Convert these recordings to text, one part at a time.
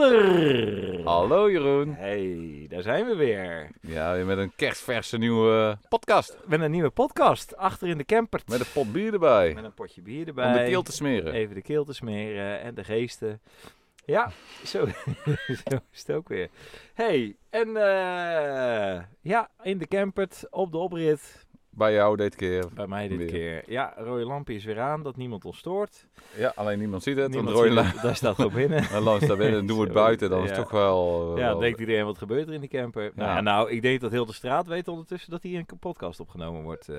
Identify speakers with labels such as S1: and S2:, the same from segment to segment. S1: Walter.
S2: Hallo Jeroen.
S1: Hey, daar zijn we weer.
S2: Ja, weer met een kerstverse nieuwe eh, podcast.
S1: Met een nieuwe podcast, Achter in de Camper.
S2: Met een pot bier erbij.
S1: Met een potje bier erbij.
S2: Om de keel te smeren.
S1: Even de keel te smeren en de geesten. Ja, zo, zo is het ook weer. Hey, en eh, ja, in de camper, op de oprit,
S2: Bij jou dit keer.
S1: bij mij dit
S2: Weer.
S1: keer. Ja, rode lampje is weer aan, dat niemand ons stoort.
S2: Ja, alleen niemand ziet het.
S1: Niemand
S2: want Roy
S1: ziet het, daar staat gewoon binnen.
S2: la- langs daar binnen en doen we het
S1: Zo.
S2: buiten. Dan is het
S1: Ja.
S2: toch wel... eh,
S1: Ja,
S2: wel-
S1: denkt iedereen wat gebeurt er in die camper? Nou,
S2: Ja.
S1: ja, nou, ik denk dat heel de straat weet ondertussen dat hier een podcast opgenomen wordt. eh.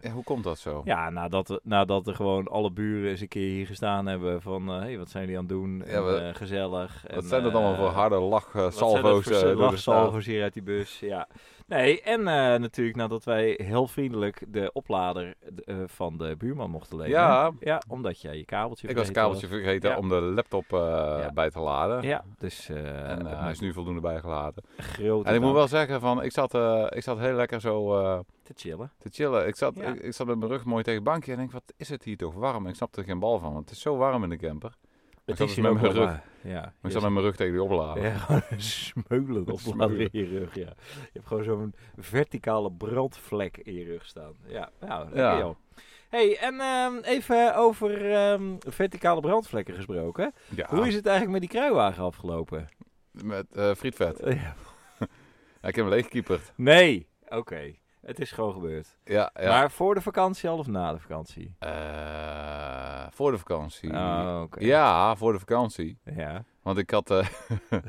S2: Ja, hoe komt dat zo?
S1: ja, nadat, we- nadat er gewoon alle buren eens een keer hier gestaan hebben van... hé, hey, wat zijn jullie aan het doen? en,
S2: we-
S1: eh, gezellig. eh,
S2: Wat zijn dat allemaal voor harde
S1: salvo's?
S2: lachsalvo's? eh, door de straat?
S1: lachsalvo's hier uit die bus, ja. Nee, en eh, natuurlijk nadat wij heel vriendelijk de oplader eh, van de buurman mochten lenen.
S2: Ja,
S1: Ja, omdat jij je kabeltje
S2: ik was het
S1: vergeten
S2: kabeltje vergeten
S1: Ja.
S2: om de laptop eh, bij te laden.
S1: Ja, dus eh
S2: En eh, hij is nu voldoende bijgeladen.
S1: grote
S2: En ik moet
S1: dank
S2: wel zeggen, van, ik, zat, eh, ik zat heel lekker zo... eh,
S1: te chillen.
S2: te chillen. Ik zat,
S1: Ja.
S2: ik, ik zat met mijn rug mooi tegen het bankje en denk, wat is het hier toch warm? Ik snap er geen bal van, want het is zo warm in de camper. Ik zat dus
S1: hier
S2: met
S1: ook
S2: mijn
S1: wel
S2: rug.
S1: waar. Ja,
S2: Maar ik zat met mijn rug tegen die oplader.
S1: Ja, gewoon een smeulen
S2: Een
S1: oplader in
S2: smeulen.
S1: je rug, ja. Je hebt gewoon zo'n verticale brandvlek in je rug staan. Ja, nou, lekker
S2: Ja.
S1: joh. hey, en ehm, even over ehm, verticale brandvlekken gesproken.
S2: Ja,
S1: Hoe is het eigenlijk met die kruiwagen afgelopen?
S2: met eh, frietvet.
S1: Eh,
S2: Ja, ik heb hem leeggekieperd.
S1: nee, oké. Het is gewoon gebeurd.
S2: Ja, ja.
S1: Maar voor de vakantie al of na de vakantie?
S2: Eh, voor de vakantie.
S1: Oh, oké.
S2: Ja, voor de vakantie.
S1: Ja,
S2: Want ik had, eh,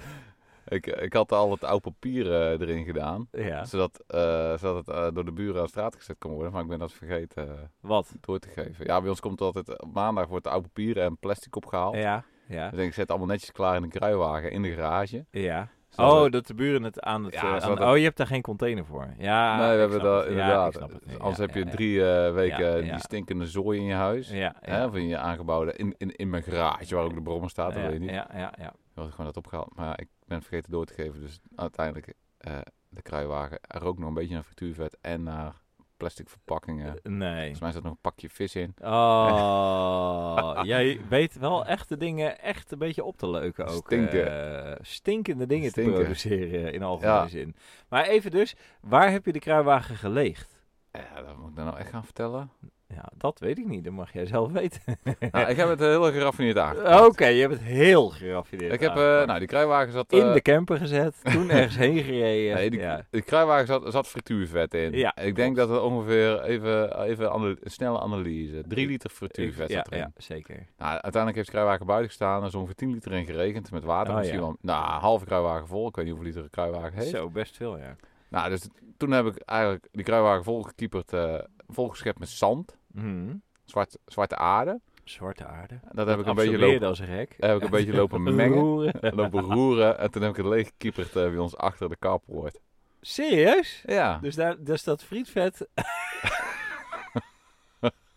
S2: ik, ik had al het oud papier eh, erin gedaan.
S1: ja.
S2: Zodat, eh, zodat het eh, door de buren aan straat gezet kon worden. Maar ik ben dat vergeten eh,
S1: Wat?
S2: door te geven. Ja, bij ons komt altijd op maandag wordt oud papier en plastic opgehaald.
S1: Ja, ja,
S2: Dus ik zet het allemaal netjes klaar in een kruiwagen in de garage.
S1: ja.
S2: Zodat
S1: Oh,
S2: we-
S1: dat de buren het aan het...
S2: Ja,
S1: eh, aan-
S2: zodat-
S1: oh, je hebt daar geen container voor. Ja,
S2: nee,
S1: ik
S2: we hebben
S1: snap
S2: dat
S1: het. Ja, ik
S2: inderdaad.
S1: snap het. nu.
S2: Anders
S1: Ja,
S2: heb je
S1: ja, ja.
S2: drie eh, weken
S1: Ja,
S2: eh,
S1: ja.
S2: die stinkende zooi in je huis.
S1: Ja,
S2: Dus, Hè,
S1: ja.
S2: of in je aangebouwde, in, in, in mijn garage waar ook de brommer staat, dat
S1: ja,
S2: weet je niet.
S1: Ja, ja, ja.
S2: Ik had gewoon dat opgehaald. Maar ja, ik ben het vergeten door te geven. Dus uiteindelijk eh, de kruiwagen er ook nog een beetje naar frituurvet en naar plastic verpakkingen.
S1: Eh, Nee.
S2: Volgens mij zat nog een pakje vis in.
S1: Oh, jij weet wel echt de dingen echt een beetje op te leuken ook.
S2: Stinken.
S1: eh, stinkende dingen
S2: Stinken.
S1: te produceren in algemene
S2: Ja.
S1: zin. Maar even dus, waar heb je de kruiwagen geleegd?
S2: Ja, dat moet ik dan nou echt gaan vertellen.
S1: Ja, dat weet ik niet. Dat mag jij zelf weten.
S2: nou, ik heb het eh, heel geraffineerd aangepakt.
S1: Oké, je hebt het heel geraffineerd
S2: Ik heb, eh,
S1: aangepakt.
S2: nou die kruiwagen zat...
S1: In
S2: eh,
S1: de camper gezet, toen ergens heen gereden.
S2: Nee, die,
S1: ja.
S2: die kruiwagen zat, zat frituurvet in.
S1: Ja,
S2: ik denk dat
S1: klopt.
S2: het ongeveer even, even ana- een snelle analyse. 3 liter frituurvet
S1: ja,
S2: zat erin.
S1: ja, zeker.
S2: Nou, uiteindelijk heeft de kruiwagen buiten gestaan. Er is ongeveer 10 liter in geregend met water.
S1: Oh,
S2: misschien
S1: ja.
S2: wel nou, een halve kruiwagen vol. Ik weet niet hoeveel liter een kruiwagen heeft.
S1: Zo, best veel, ja.
S2: Nou, dus toen heb ik eigenlijk die kruiwagen volgekieperd, eh volgeschept met zand.
S1: Mhm.
S2: Zwart, zwarte aarde.
S1: Zwarte aarde.
S2: Dat heb ik een beetje
S1: Absorbeerde
S2: lopen,
S1: als een gek.
S2: heb ik een beetje lopen mengen.
S1: Roeren.
S2: Lopen roeren. En toen heb ik het leeggekieperd eh bij ons achter de carport.
S1: Serieus?
S2: Ja,
S1: Dus daar, daar staat frietvet.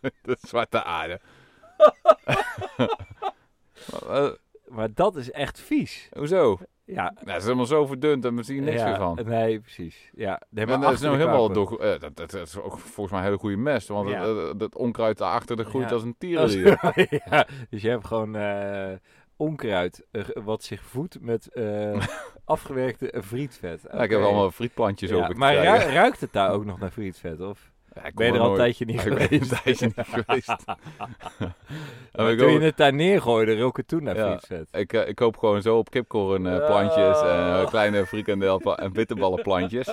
S2: de zwarte aarde. Eh,
S1: Maar dat is echt vies.
S2: hoezo?
S1: Ja.
S2: Nou, het is helemaal zo verdund en we zien niks
S1: ja,
S2: meer van.
S1: Nee, precies. Ja, nee,
S2: En
S1: maar
S2: dat is
S1: achter
S2: nou
S1: de
S2: helemaal
S1: kwaker.
S2: door, eh, dat, dat, dat is ook volgens mij een hele goede mest. Want
S1: Ja.
S2: het- het- dat onkruid daarachter dat groeit
S1: Ja.
S2: als een
S1: Als-
S2: tierenlier.
S1: ja, dus je hebt gewoon eh, onkruid eh, wat zich voedt met eh, afgewerkte eh, frietvet.
S2: Ja, ik heb
S1: Oké.
S2: allemaal frietplantjes
S1: Ja,
S2: over
S1: maar
S2: te
S1: ru-
S2: krijgen.
S1: ruikt het daar ook nog naar frietvet? Of
S2: Ja, ik
S1: ben je
S2: kom
S1: er al een
S2: nooit-
S1: tijdje niet
S2: Ja, ik ben er
S1: geweest?
S2: een tijdje niet geweest.
S1: Maar
S2: En ik,
S1: toen je
S2: ook-
S1: het daar neergooide, rook het toen naar
S2: Ja.
S1: frietvet.
S2: ik, eh, ik koop gewoon zo op kipkorn eh, plantjes en eh, kleine frikandel en bitterballenplantjes.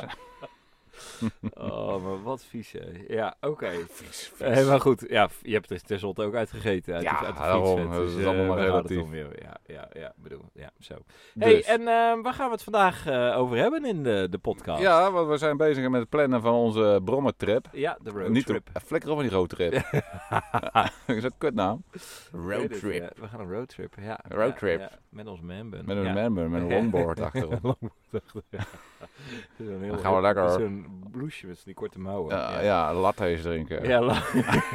S1: Oh, maar wat vies, hè. Ja, oké.
S2: Vies, vies.
S1: Eh, maar goed, ja, f- je hebt er tenslotte ook uitgegeten. Uit
S2: Ja,
S1: de, uit de
S2: daarom.
S1: fietsvet,
S2: Dat is
S1: eh,
S2: allemaal maar
S1: waar gaat het
S2: relatief.
S1: om, joh? ja, ja, ja, bedoel, ja, zo. hey,
S2: Dus.
S1: en eh, waar gaan we het vandaag eh, over hebben in de, de podcast?
S2: Ja, want we zijn bezig met het plannen van onze brommertrip.
S1: Ja, de
S2: Niet
S1: roadtrip.
S2: de- eh, flikker op met die roadtrip. dat is een kutnaam.
S1: Weet het, ja. We gaan een roadtrip, ja.
S2: Roadtrip.
S1: Ja, ja. Met ons manbun.
S2: Met een
S1: ja.
S2: manbun, met een longboard achterop.
S1: Longboard achter. Zo'n heel
S2: Dan gaan we lekker.
S1: Zo'n bloesje met die korte mouwen.
S2: Ja, ja, lattes drinken.
S1: Ja, la-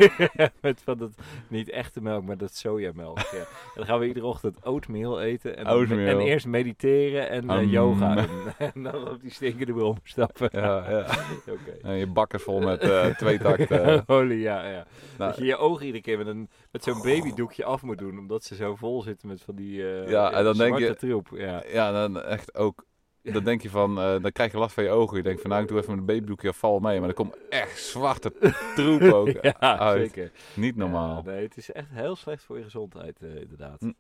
S1: met van dat niet echte melk, maar dat sojamelk. Ja. En dan gaan we iedere ochtend oatmeal eten. En, dan-
S2: Oatmeal.
S1: en eerst mediteren en eh,
S2: Am.
S1: yoga. En, en dan op die stinkende boom stappen.
S2: Ja, ja.
S1: Oké.
S2: En je bak is vol met eh, twee takten.
S1: Holy, ja, ja. dat
S2: Nou,
S1: je je ogen iedere keer met, een, met zo'n babydoekje af moet doen, omdat ze zo vol zitten met van die eh
S2: Ja, en dan denk
S1: zwarte
S2: je-
S1: troep. Ja.
S2: ja, dan echt ook. Dan denk je van, eh, dan krijg je last van je ogen. Je denkt van, nou, ik doe even mijn babydoekje, val mee. Maar er komt echt zwarte troep ook.
S1: ja,
S2: uit.
S1: zeker.
S2: Niet normaal.
S1: Ja, nee, het is echt heel slecht voor je gezondheid, eh, inderdaad.
S2: Mm.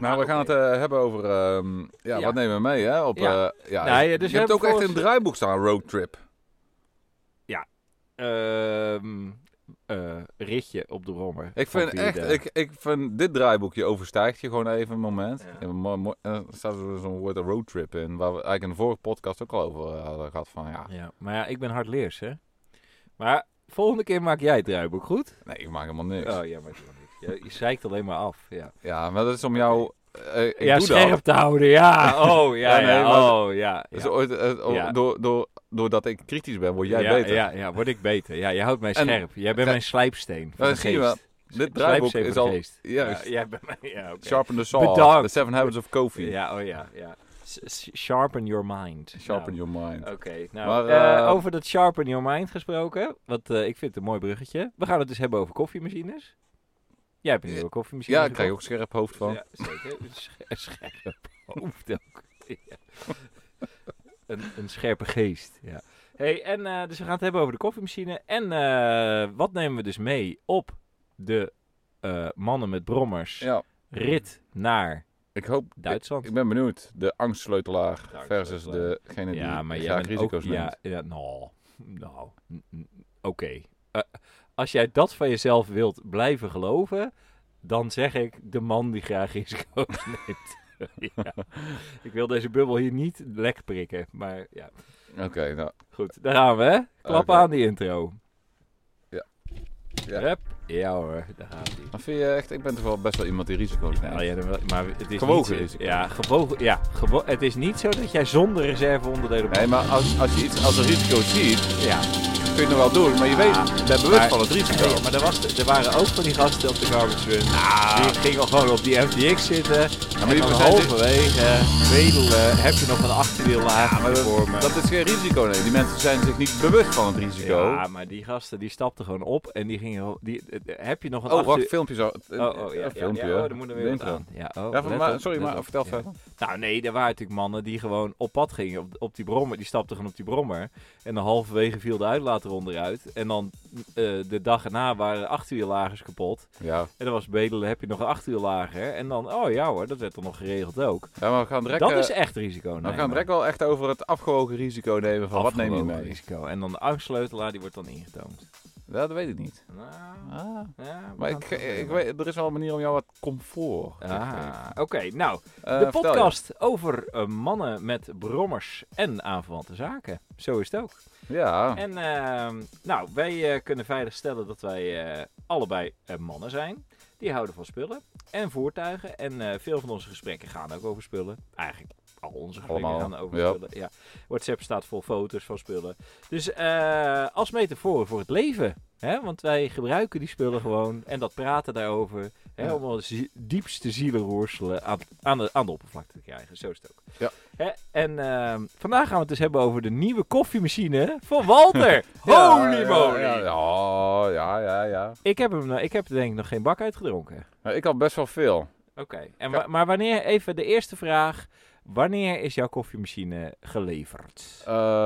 S2: Nou, we gaan het eh, hebben over, ehm, ja,
S1: Ja.
S2: wat nemen we mee, hè? Op,
S1: Ja.
S2: eh, ja,
S1: Nou, ja, dus
S2: je
S1: we
S2: hebt
S1: hebben
S2: ook echt
S1: volgens-
S2: een draaiboek staan, roadtrip.
S1: Ehm, eh, ritje op de brommer.
S2: Ik
S1: van
S2: vind
S1: vier
S2: echt,
S1: dagen.
S2: ik, ik vind dit draaiboekje overstijgt je gewoon even een moment.
S1: Ja.
S2: En, mo- mo- en dan staat er zo'n woord roadtrip in, waar we eigenlijk in de vorige podcast ook al over eh, hadden gehad van, ja,
S1: Ja, maar ja, ik ben hardleers, hè. Maar volgende keer maak jij het draaiboek, goed?
S2: nee, ik maak helemaal niks.
S1: Oh, ja, maar doe maar niet. Je, je zeikt alleen maar af, ja.
S2: Ja, maar dat is om jou... eh, ik
S1: ja,
S2: doe
S1: scherp
S2: dat.
S1: te houden, ja. Oh, ja,
S2: Ja, nee,
S1: ja,
S2: maar-
S1: oh, ja. ja.
S2: Dus ooit, eh, o-
S1: Ja.
S2: door, door, doordat ik kritisch ben, word jij
S1: ja,
S2: beter.
S1: Ja, ja, word ik beter. Ja, jij houdt mij
S2: En-
S1: scherp. Jij bent
S2: Ja.
S1: mijn slijpsteen van
S2: Ja,
S1: de
S2: zie je
S1: geest. Dus
S2: Dit
S1: Slijpsteen
S2: draaiboek
S1: van
S2: is
S1: de
S2: al...
S1: geest.
S2: Juist.
S1: Ja, jij bent mijn... Ja, oké.
S2: Sharpen the saw.
S1: Bedankt.
S2: The seven habits of coffee.
S1: Ja, oh ja, ja. S- s- Sharpen your mind.
S2: Sharpen
S1: Nou,
S2: your mind.
S1: Oké, nou,
S2: Maar,
S1: eh,
S2: eh,
S1: over dat sharpen your mind gesproken, want eh, ik vind het een mooi bruggetje. We gaan het dus hebben over koffiemachines. Jij hebt een nieuwe koffiemachine
S2: Eh, Ja, ik krijg ook scherp hoofd van.
S1: Ja, zeker. Een sch- een scherp hoofd ook. Ja. Een, een scherpe geest, ja. Hey, en eh, dus we gaan het hebben over de koffiemachine. En eh, wat nemen we dus mee op de eh, mannen met brommers
S2: Ja,
S1: rit naar
S2: ik hoop...
S1: Duitsland?
S2: Ik ben benieuwd. De angstsleutelaar
S1: De
S2: versus
S1: angstsleutelaar.
S2: degene die
S1: ja, maar jij
S2: graag
S1: bent
S2: risico's
S1: ook,
S2: neemt.
S1: ja, ja, nou, nou, n- n- oké. Eh, als jij dat van jezelf wilt blijven geloven, dan zeg ik de man die graag risico's neemt. ja. Ik wil deze bubbel hier niet lek prikken, maar ja.
S2: Oké, nou...
S1: Goed, daar gaan we, hè? Klap
S2: Oké.
S1: aan die intro.
S2: Ja. Ja.
S1: Hup. ja hoor, daar gaan die.
S2: Dan vind je echt... Ik ben toch wel best wel iemand die risico's neemt.
S1: Ja, ja, dan wel- maar het is
S2: Gewogen
S1: niet, zo-
S2: risico.
S1: Ja, gewogen, ja gewo- het is niet zo dat jij zonder reserve onderdelen op-
S2: Nee, maar als, als je iets als een risico ziet,
S1: Ja.
S2: kun je het nog wel doen. Maar je weet, je bent bewust
S1: Maar-
S2: van het risico.
S1: Nee, maar er, was, er waren ook van die gasten op de garbage run. Die gingen gewoon op die FTX zitten.
S2: Nou. maar
S1: en
S2: die
S1: dan
S2: zijn-
S1: halverwege eh, wedelen heb je nog een achterwiel laag
S2: Maar
S1: voor me.
S2: dat, dat is geen risico, nee. Die mensen zijn zich niet bewust van het risico.
S1: Ja, maar die gasten die stapten gewoon op en die gingen... Die, eh, heb je nog een
S2: Oh, wacht,
S1: achter-
S2: filmpje zo.
S1: Oh, oh, ja, ja,
S2: Een filmpje.
S1: ja,
S2: hè.
S1: oh, daar moet er
S2: De
S1: weer wat
S2: intro.
S1: aan. Ja, oh,
S2: Ja, van-
S1: let
S2: maar-
S1: op,
S2: sorry,
S1: let
S2: maar
S1: op.
S2: vertel
S1: Ja.
S2: verder.
S1: Nou nee, er waren natuurlijk mannen die gewoon op pad gingen op, op die brommer. Die stapten gewoon op die brommer. En dan halverwege viel de uitlaat eronder uit. En dan eh, de dag erna waren achterwiellagers kapot.
S2: Ja.
S1: En dan was bedelen, heb je nog een achterwiel lager. En dan, oh ja hoor, dat werd dan nog geregeld ook.
S2: ja, maar we gaan direct,
S1: dat
S2: eh,
S1: is echt risico
S2: we
S1: nemen.
S2: gaan direct wel echt over het afgewogen risico nemen van wat neem je
S1: Afgewogen
S2: mee.
S1: Risico. En dan de angstleutelaar, die wordt dan ingetoond.
S2: Ja, dat weet ik niet.
S1: Nou,
S2: Ah,
S1: ja, we
S2: maar
S1: gaan
S2: ik, eh,
S1: het wel
S2: ik
S1: doen.
S2: weet, er is wel een manier om jou wat comfort te geven.
S1: Ah, oké. Nou, de
S2: Eh, vertel je.
S1: podcast over eh, mannen met brommers en aanverwante zaken. Zo is het ook.
S2: Ja.
S1: En ehm, nou, wij eh, kunnen veilig stellen dat wij eh, allebei eh, mannen zijn. Die houden van spullen en voertuigen. En eh, veel van onze gesprekken gaan ook over spullen. Eigenlijk al onze gesprekken
S2: Allemaal,
S1: gaan over
S2: ja.
S1: spullen. Ja. WhatsApp staat vol foto's van spullen. Dus eh, als metafoor voor het leven. Hè? Want wij gebruiken die spullen gewoon en dat praten daarover. Hè?
S2: Ja.
S1: Om onze zie- diepste zielenroerselen aan, aan, de, aan de oppervlakte te krijgen. Zo is het ook.
S2: Ja.
S1: Hè? En ehm, vandaag gaan we het dus hebben over de nieuwe koffiemachine van Walter.
S2: Ja,
S1: Holy
S2: ja,
S1: moly!
S2: Ja, ja, ja, ja. ja.
S1: Ik, heb hem, eh, ik heb er denk ik nog geen bak uitgedronken.
S2: Nou, ik had best wel veel.
S1: Oké. En wa- maar wanneer, even de eerste vraag. Wanneer is jouw koffiemachine geleverd?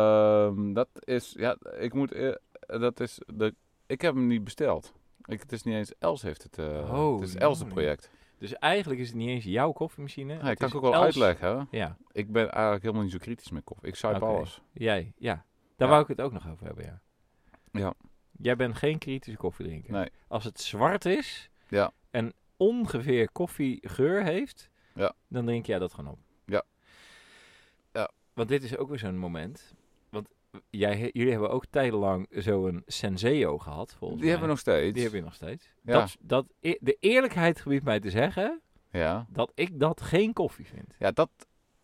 S2: Ehm, dat is, ja, ik moet, eh, dat is, de, ik heb hem niet besteld. Ik, het is niet eens, Els heeft het, eh, het is
S1: Holy
S2: Els
S1: moly.
S2: project.
S1: Dus eigenlijk is het niet eens jouw koffiemachine.
S2: Ja,
S1: het
S2: ik kan
S1: is
S2: het ook wel
S1: Els-
S2: uitleggen. hè.
S1: Ja,
S2: Ik ben eigenlijk helemaal niet zo kritisch met koffie. Ik zuip
S1: Oké.
S2: alles.
S1: jij. Ja. Daar
S2: Ja.
S1: wou ik het ook nog over hebben, ja.
S2: Ja.
S1: Jij bent geen kritische koffiedrinker.
S2: Nee.
S1: Als het zwart is
S2: Ja.
S1: en ongeveer koffiegeur heeft,
S2: Ja.
S1: dan drink jij dat gewoon op.
S2: Ja. Ja.
S1: Want dit is ook weer zo'n moment. Want jij, jullie hebben ook tijdenlang zo'n senseo gehad,
S2: Die
S1: volgens mij.
S2: hebben we nog steeds.
S1: Die heb je nog steeds.
S2: Ja.
S1: Dat, dat, e- de eerlijkheid gebiedt mij te zeggen
S2: Ja.
S1: dat ik dat geen koffie vind.
S2: ja, dat...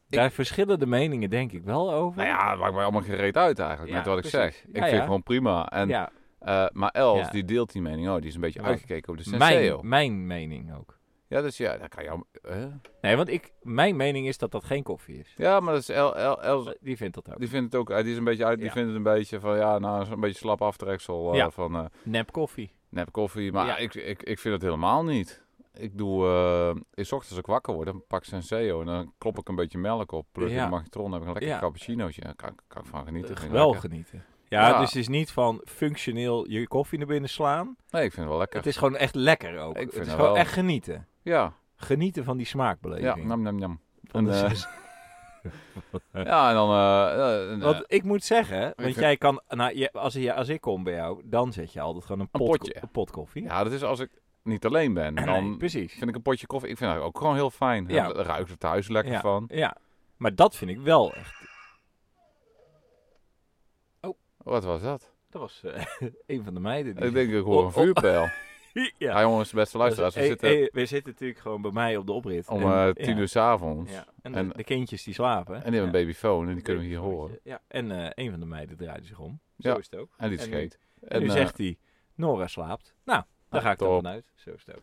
S2: Ik
S1: Daar verschillen de meningen denk ik wel over.
S2: Nou ja, het maakt mij allemaal gereed uit eigenlijk,
S1: Ja,
S2: net wat ik
S1: precies.
S2: zeg.
S1: Ja,
S2: Ik
S1: ja.
S2: vind het gewoon prima. En,
S1: ja,
S2: eh, maar Els,
S1: Ja.
S2: die deelt die mening. Oh, die is een beetje
S1: Ja.
S2: uitgekeken op de senseo.
S1: mijn, mijn mening ook.
S2: Ja, dus ja, daar kan je... al- hè?
S1: Nee, want ik, mijn mening is dat dat geen koffie is.
S2: Ja, maar dat is El, El- Els...
S1: Die vindt dat ook.
S2: Die vindt het ook, eh, die is een beetje uit, die
S1: Ja.
S2: vindt het een beetje van, ja, nou, is een beetje slap aftreksel eh,
S1: Ja.
S2: van eh,
S1: Nep koffie.
S2: nep koffie. Maar
S1: Ja.
S2: ik, ik, ik vind het helemaal niet. Ik doe, eh in 's ochtends als ik wakker word, dan pak ik Senseo en dan klop ik een beetje melk op, pluk in
S1: Ja.
S2: de magnetron, dan heb ik een lekker
S1: Ja.
S2: cappuccinootje. Daar kan, ik- kan ik van genieten.
S1: Eh,
S2: Vind ik
S1: wel
S2: lekker.
S1: genieten. Ja,
S2: Ja.
S1: dus het is niet van functioneel je koffie naar binnen slaan.
S2: Nee, ik vind het wel lekker.
S1: Het is gewoon echt lekker ook.
S2: Ik vind
S1: het is
S2: het
S1: gewoon
S2: wel.
S1: echt genieten.
S2: Ja,
S1: Genieten van die smaakbeleving.
S2: ja, nou, nam, nam, nam.
S1: Van de
S2: en, eh,
S1: zes-
S2: Ja, en dan... eh, eh, eh,
S1: Want ik moet zeggen, want
S2: vind-
S1: jij kan, nou, je- als, je- als ik kom bij jou, dan zet je altijd gewoon een,
S2: Een
S1: pot,
S2: potje.
S1: een pot koffie.
S2: eh, ja, dat is als ik niet alleen ben. Dan
S1: Nee, precies.
S2: vind ik een potje koffie, ik vind dat ook gewoon heel fijn.
S1: Ja.
S2: Ja. Daar ruikt het thuis lekker
S1: Ja.
S2: van.
S1: Ja, maar dat vind ik wel echt.
S2: Wat was dat?
S1: Dat was eh, een van de meiden. Die
S2: Ik denk, ik hoor
S1: Oh,
S2: een
S1: oh.
S2: vuurpijl.
S1: ja.
S2: Ja, jongens, beste luisteraars, we
S1: Eh,
S2: zitten
S1: eh, we zitten natuurlijk gewoon bij mij op de oprit.
S2: om
S1: En-
S2: eh
S1: ja.
S2: tien uur s'avonds.
S1: Ja. En,
S2: En-
S1: de, de kindjes die slapen.
S2: En die hebben een babyfoon en die kunnen we hier horen.
S1: Ja, en eh, een van de meiden draaide zich om. Zo
S2: Ja.
S1: is het ook.
S2: En die
S1: En nu-
S2: scheet.
S1: En, nu
S2: eh,
S1: zegt hij, Nora slaapt. Nou, daar
S2: nou,
S1: ga ik dan
S2: top.
S1: vanuit. Zo is het ook.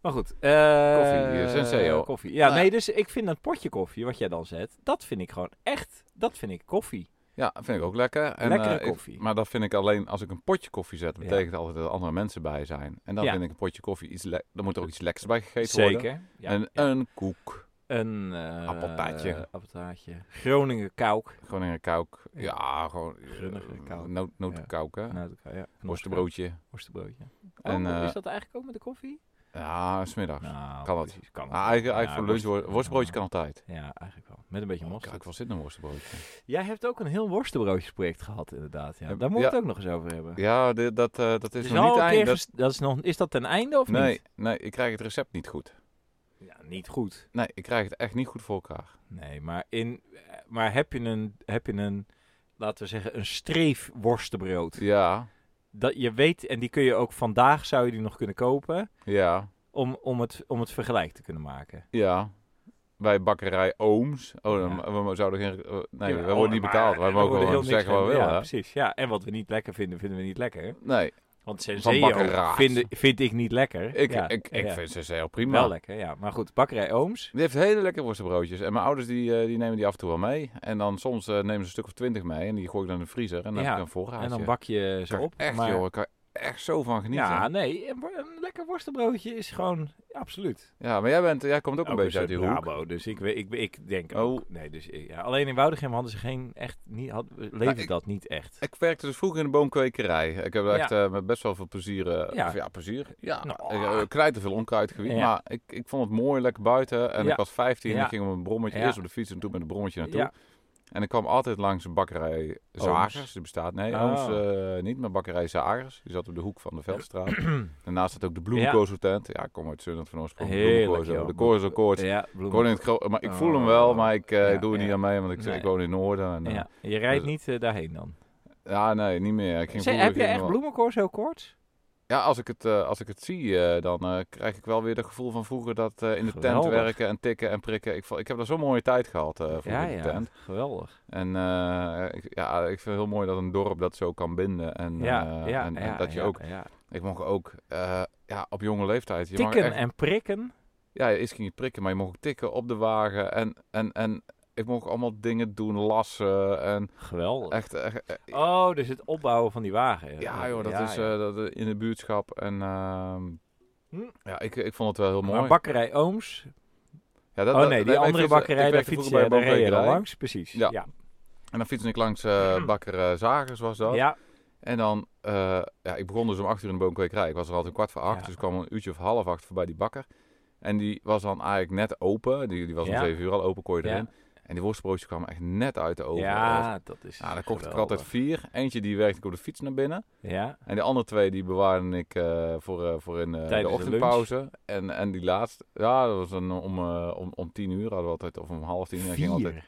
S1: Maar goed. eh,
S2: Koffie, eh, Senseo.
S1: Koffie. Ja,
S2: Nou ja.
S1: nee, dus ik vind dat potje koffie wat jij dan zet, dat vind ik gewoon echt, dat vind ik koffie.
S2: Ja, vind ik ook lekker. En,
S1: Lekkere
S2: eh, ik-
S1: koffie.
S2: maar dat vind ik alleen als ik een potje koffie zet,
S1: Ja.
S2: betekent altijd dat er andere mensen bij zijn. En dan
S1: Ja.
S2: vind ik een potje koffie iets lekker. Dan moet er ook iets lekkers bij gegeten worden.
S1: Zeker. Ja,
S2: en
S1: ja.
S2: een koek.
S1: Een eh,
S2: Appeltaartje.
S1: appeltaartje. Groningen kauk.
S2: Gewoon in een kouk. Ja, gewoon. eh,
S1: Grunnige kouk.
S2: Noot, nootkouk, hè?
S1: Nou, dat kan, ja.
S2: Worstenbroodje.
S1: Worstenbroodje. Oh,
S2: En, eh,
S1: is dat eigenlijk ook met de koffie?
S2: Ja, smiddags.
S1: Nou,
S2: kan dat.
S1: precies, Kan
S2: Ah, eigenlijk eigenlijk
S1: Ja,
S2: voor lunch,
S1: worst-
S2: wor- worstbroodje kan altijd.
S1: Ja, eigenlijk wel. Met een beetje
S2: Oh,
S1: mosterd.
S2: Kijk, wat zit een worstenbroodje?
S1: Jij hebt ook een heel worstenbroodjesproject gehad, inderdaad. Ja.
S2: Heb-
S1: Daar moeten we
S2: ja.
S1: het ook nog eens over hebben.
S2: Ja, dit- dat, eh, dat is
S1: Dus al
S2: nog niet
S1: een keer
S2: eind. dat-
S1: ges- dat is, nog, is dat ten einde of
S2: Nee,
S1: niet?
S2: nee, ik krijg het recept niet goed.
S1: Ja, niet goed.
S2: Nee, ik krijg het echt niet goed voor elkaar.
S1: Nee, maar, in, eh, maar heb, je een, heb je een, laten we zeggen, een streef worstenbrood?
S2: Ja,
S1: Dat je weet, en die kun je ook vandaag, zou je die nog kunnen kopen,
S2: ja,
S1: om, om, het, om het vergelijk te kunnen maken.
S2: ja. Bij bakkerij Ooms. Oh, dan, we zouden geen... eh, Nee, we worden niet betaald. Wij mogen gewoon zeggen wat we willen.
S1: Ja,
S2: hè?
S1: precies. Ja, en wat we niet lekker vinden, vinden we niet lekker.
S2: Nee,
S1: Want
S2: bakkeraad.
S1: Senseo vind, vind ik niet lekker.
S2: ik,
S1: Ja,
S2: ik, ik
S1: ja.
S2: vind ze heel prima.
S1: Wel lekker, ja. Maar goed, bakkerij Ooms.
S2: Die heeft hele lekkere worstenbroodjes. En mijn ouders die, eh, die nemen die af en toe wel mee. En dan soms eh, nemen ze een stuk of twintig mee. En die gooi ik dan in de vriezer. En dan
S1: Ja,
S2: heb ik een voorraadje.
S1: En dan bak je ze
S2: Kan ik
S1: op.
S2: Echt
S1: maar-
S2: joh, ik kan echt zo van genieten.
S1: Ja,
S2: Ja,
S1: nee, een, wo- een lekker worstenbroodje is gewoon absoluut.
S2: maar jij, bent, jij komt ook een beetje uit die hoek.
S1: Brabo, Nou, dus ik, we- ik, ik denk
S2: Oh.
S1: ook. Nee, dus, ik- ja, alleen in Woudegem hadden ze geen echt, niet, had, leefde
S2: ik-
S1: dat niet echt.
S2: Ik werkte dus vroeger in de boomkwekerij. Ik heb
S1: Ja.
S2: echt eh, met best wel veel plezier. eh,
S1: Ja.
S2: of ja, plezier. Ja.
S1: Nou.
S2: Ik, eh, knijter veel onkruid gewiet.
S1: Ja.
S2: Maar ik, ik vond het mooi, lekker buiten. En
S1: Ja.
S2: ik was 15 en
S1: Ja.
S2: ik ging met een brommetje.
S1: Ja.
S2: Eerst op de fiets en toen met een brommetje naartoe.
S1: Ja.
S2: En ik kwam altijd langs een bakkerij Zagers. Die bestaat. Nee,
S1: Oh.
S2: Ooms, eh, niet, maar bakkerij Zagers. Die zat op de hoek van de Veldstraat. Daarnaast zat ook de bloemenkoolsotent. Ja, ik kom uit Zundert van oorsprong.
S1: Heerlijk,
S2: Bloemenkoolzo.
S1: joh.
S2: De koorzokoorts.
S1: Ja,
S2: Ik
S1: bloemen.
S2: woon in het gro- maar ik voel hem wel, maar ik, eh,
S1: Oh, Ja,
S2: ik doe er
S1: ja.
S2: niet aan mee, want ik,
S1: Nee.
S2: ik woon in Noorden. En, eh, ja.
S1: Ja, je rijdt
S2: Dus-
S1: niet eh, daarheen dan.
S2: nee, niet meer. Ik
S1: Zeg,
S2: ging vroeger
S1: heb je
S2: ging ik
S1: echt
S2: wel-
S1: bloemenkoor zo kort?
S2: Ja, als ik het, eh, als ik het zie, eh, dan eh, krijg ik wel weer het gevoel van vroeger dat eh, in de
S1: Geweldig.
S2: tent werken en tikken en prikken. Ik, vo- ik heb daar zo'n mooie tijd gehad eh vroeger
S1: Ja,
S2: in de
S1: ja,
S2: tent.
S1: geweldig.
S2: En eh, ik, ja, ik vind het heel mooi dat een dorp dat zo kan binden. En,
S1: Ja,
S2: eh,
S1: ja,
S2: en, en
S1: ja,
S2: dat je
S1: ja,
S2: ook,
S1: ja.
S2: ik mocht ook eh, ja, op jonge leeftijd. Je mag
S1: Tikken
S2: echt-
S1: en prikken.
S2: Ja, eerst ging je prikken, maar je mocht ook tikken op de wagen. En, en, en ik mocht allemaal dingen doen, lassen en
S1: Geweldig.
S2: echt... echt eh,
S1: Oh, dus het opbouwen van die wagen.
S2: ja joh, dat is
S1: ja.
S2: eh, dat, eh, in de buurtschap en... ehm,
S1: Hm.
S2: Ja, ik, ik vond het wel heel mooi.
S1: Maar bakkerij Ooms,
S2: Ja, dat-
S1: oh
S2: dat-
S1: nee, die
S2: wij- wij
S1: andere
S2: fietsen-
S1: bakkerij,
S2: ik
S1: daar
S2: werkte
S1: fietsen ja,
S2: vroeger
S1: daar
S2: een
S1: reed je dan
S2: boomkwekerij.
S1: langs. Precies.
S2: Ja.
S1: ja.
S2: En dan fietste ik langs eh, bakker eh, Zagers, was dat.
S1: Ja,
S2: En dan, eh, ja, ik begon dus om acht uur in de boomkwekerij. Ik was er altijd een kwart voor acht,
S1: Ja.
S2: dus ik kwam een uurtje of half acht voorbij die bakker. En die was dan eigenlijk net open. Die, die was om
S1: Ja.
S2: zeven uur al open, kon je
S1: Ja.
S2: erin. En die worstbroodjes kwamen echt net uit de oven. Dat was-
S1: ja, dat is.
S2: Ja, dan kocht ik
S1: geweldig.
S2: altijd vier. Eentje die werkte ik op de fiets naar binnen.
S1: Ja,
S2: En de andere twee die bewaarde ik eh, voor, eh, voor in eh, de
S1: Tijdens de
S2: ochtendpauze. en, en die laatste, ja, dat was dan om, eh, om, om tien uur hadden we altijd, of om half tien. uur. Dan ging altijd
S1: vier.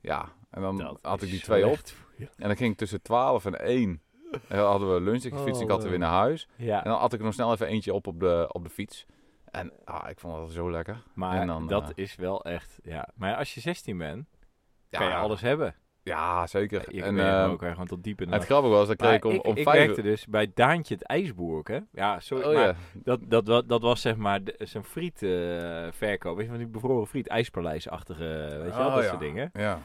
S2: Ja, en dan
S1: Dat
S2: had ik
S1: is
S2: die twee op.
S1: slecht voor je.
S2: En dan ging ik tussen 12 en 1 en dan hadden we lunch. Ik fiets, ik
S1: Oh,
S2: had er weer naar huis. En
S1: Ja,
S2: dan had ik er nog snel even eentje op op de, op de fiets. En ah, ik vond dat zo lekker.
S1: maar
S2: en dan,
S1: dat
S2: eh,
S1: is wel echt. Ja, maar als je 16 bent, kan je alles hebben.
S2: Ja, zeker.
S1: Ik
S2: en,
S1: weet
S2: eh,
S1: hem ook hè, gewoon tot diep in de
S2: het
S1: nacht.
S2: grappige was, dat kreeg ik
S1: Maar
S2: om,
S1: ik,
S2: om
S1: ik
S2: vijf
S1: werkte dus bij Daantje het IJsboer, hè? Ja, sorry,
S2: Oh
S1: maar
S2: ja.
S1: dat, dat, dat, dat was zeg maar de- zijn friet eh, verkoop. Weet je, van die bevroren friet, ijspaleisachtige, weet je wel,
S2: Oh
S1: dat
S2: ja.
S1: soort dingen.
S2: Ja.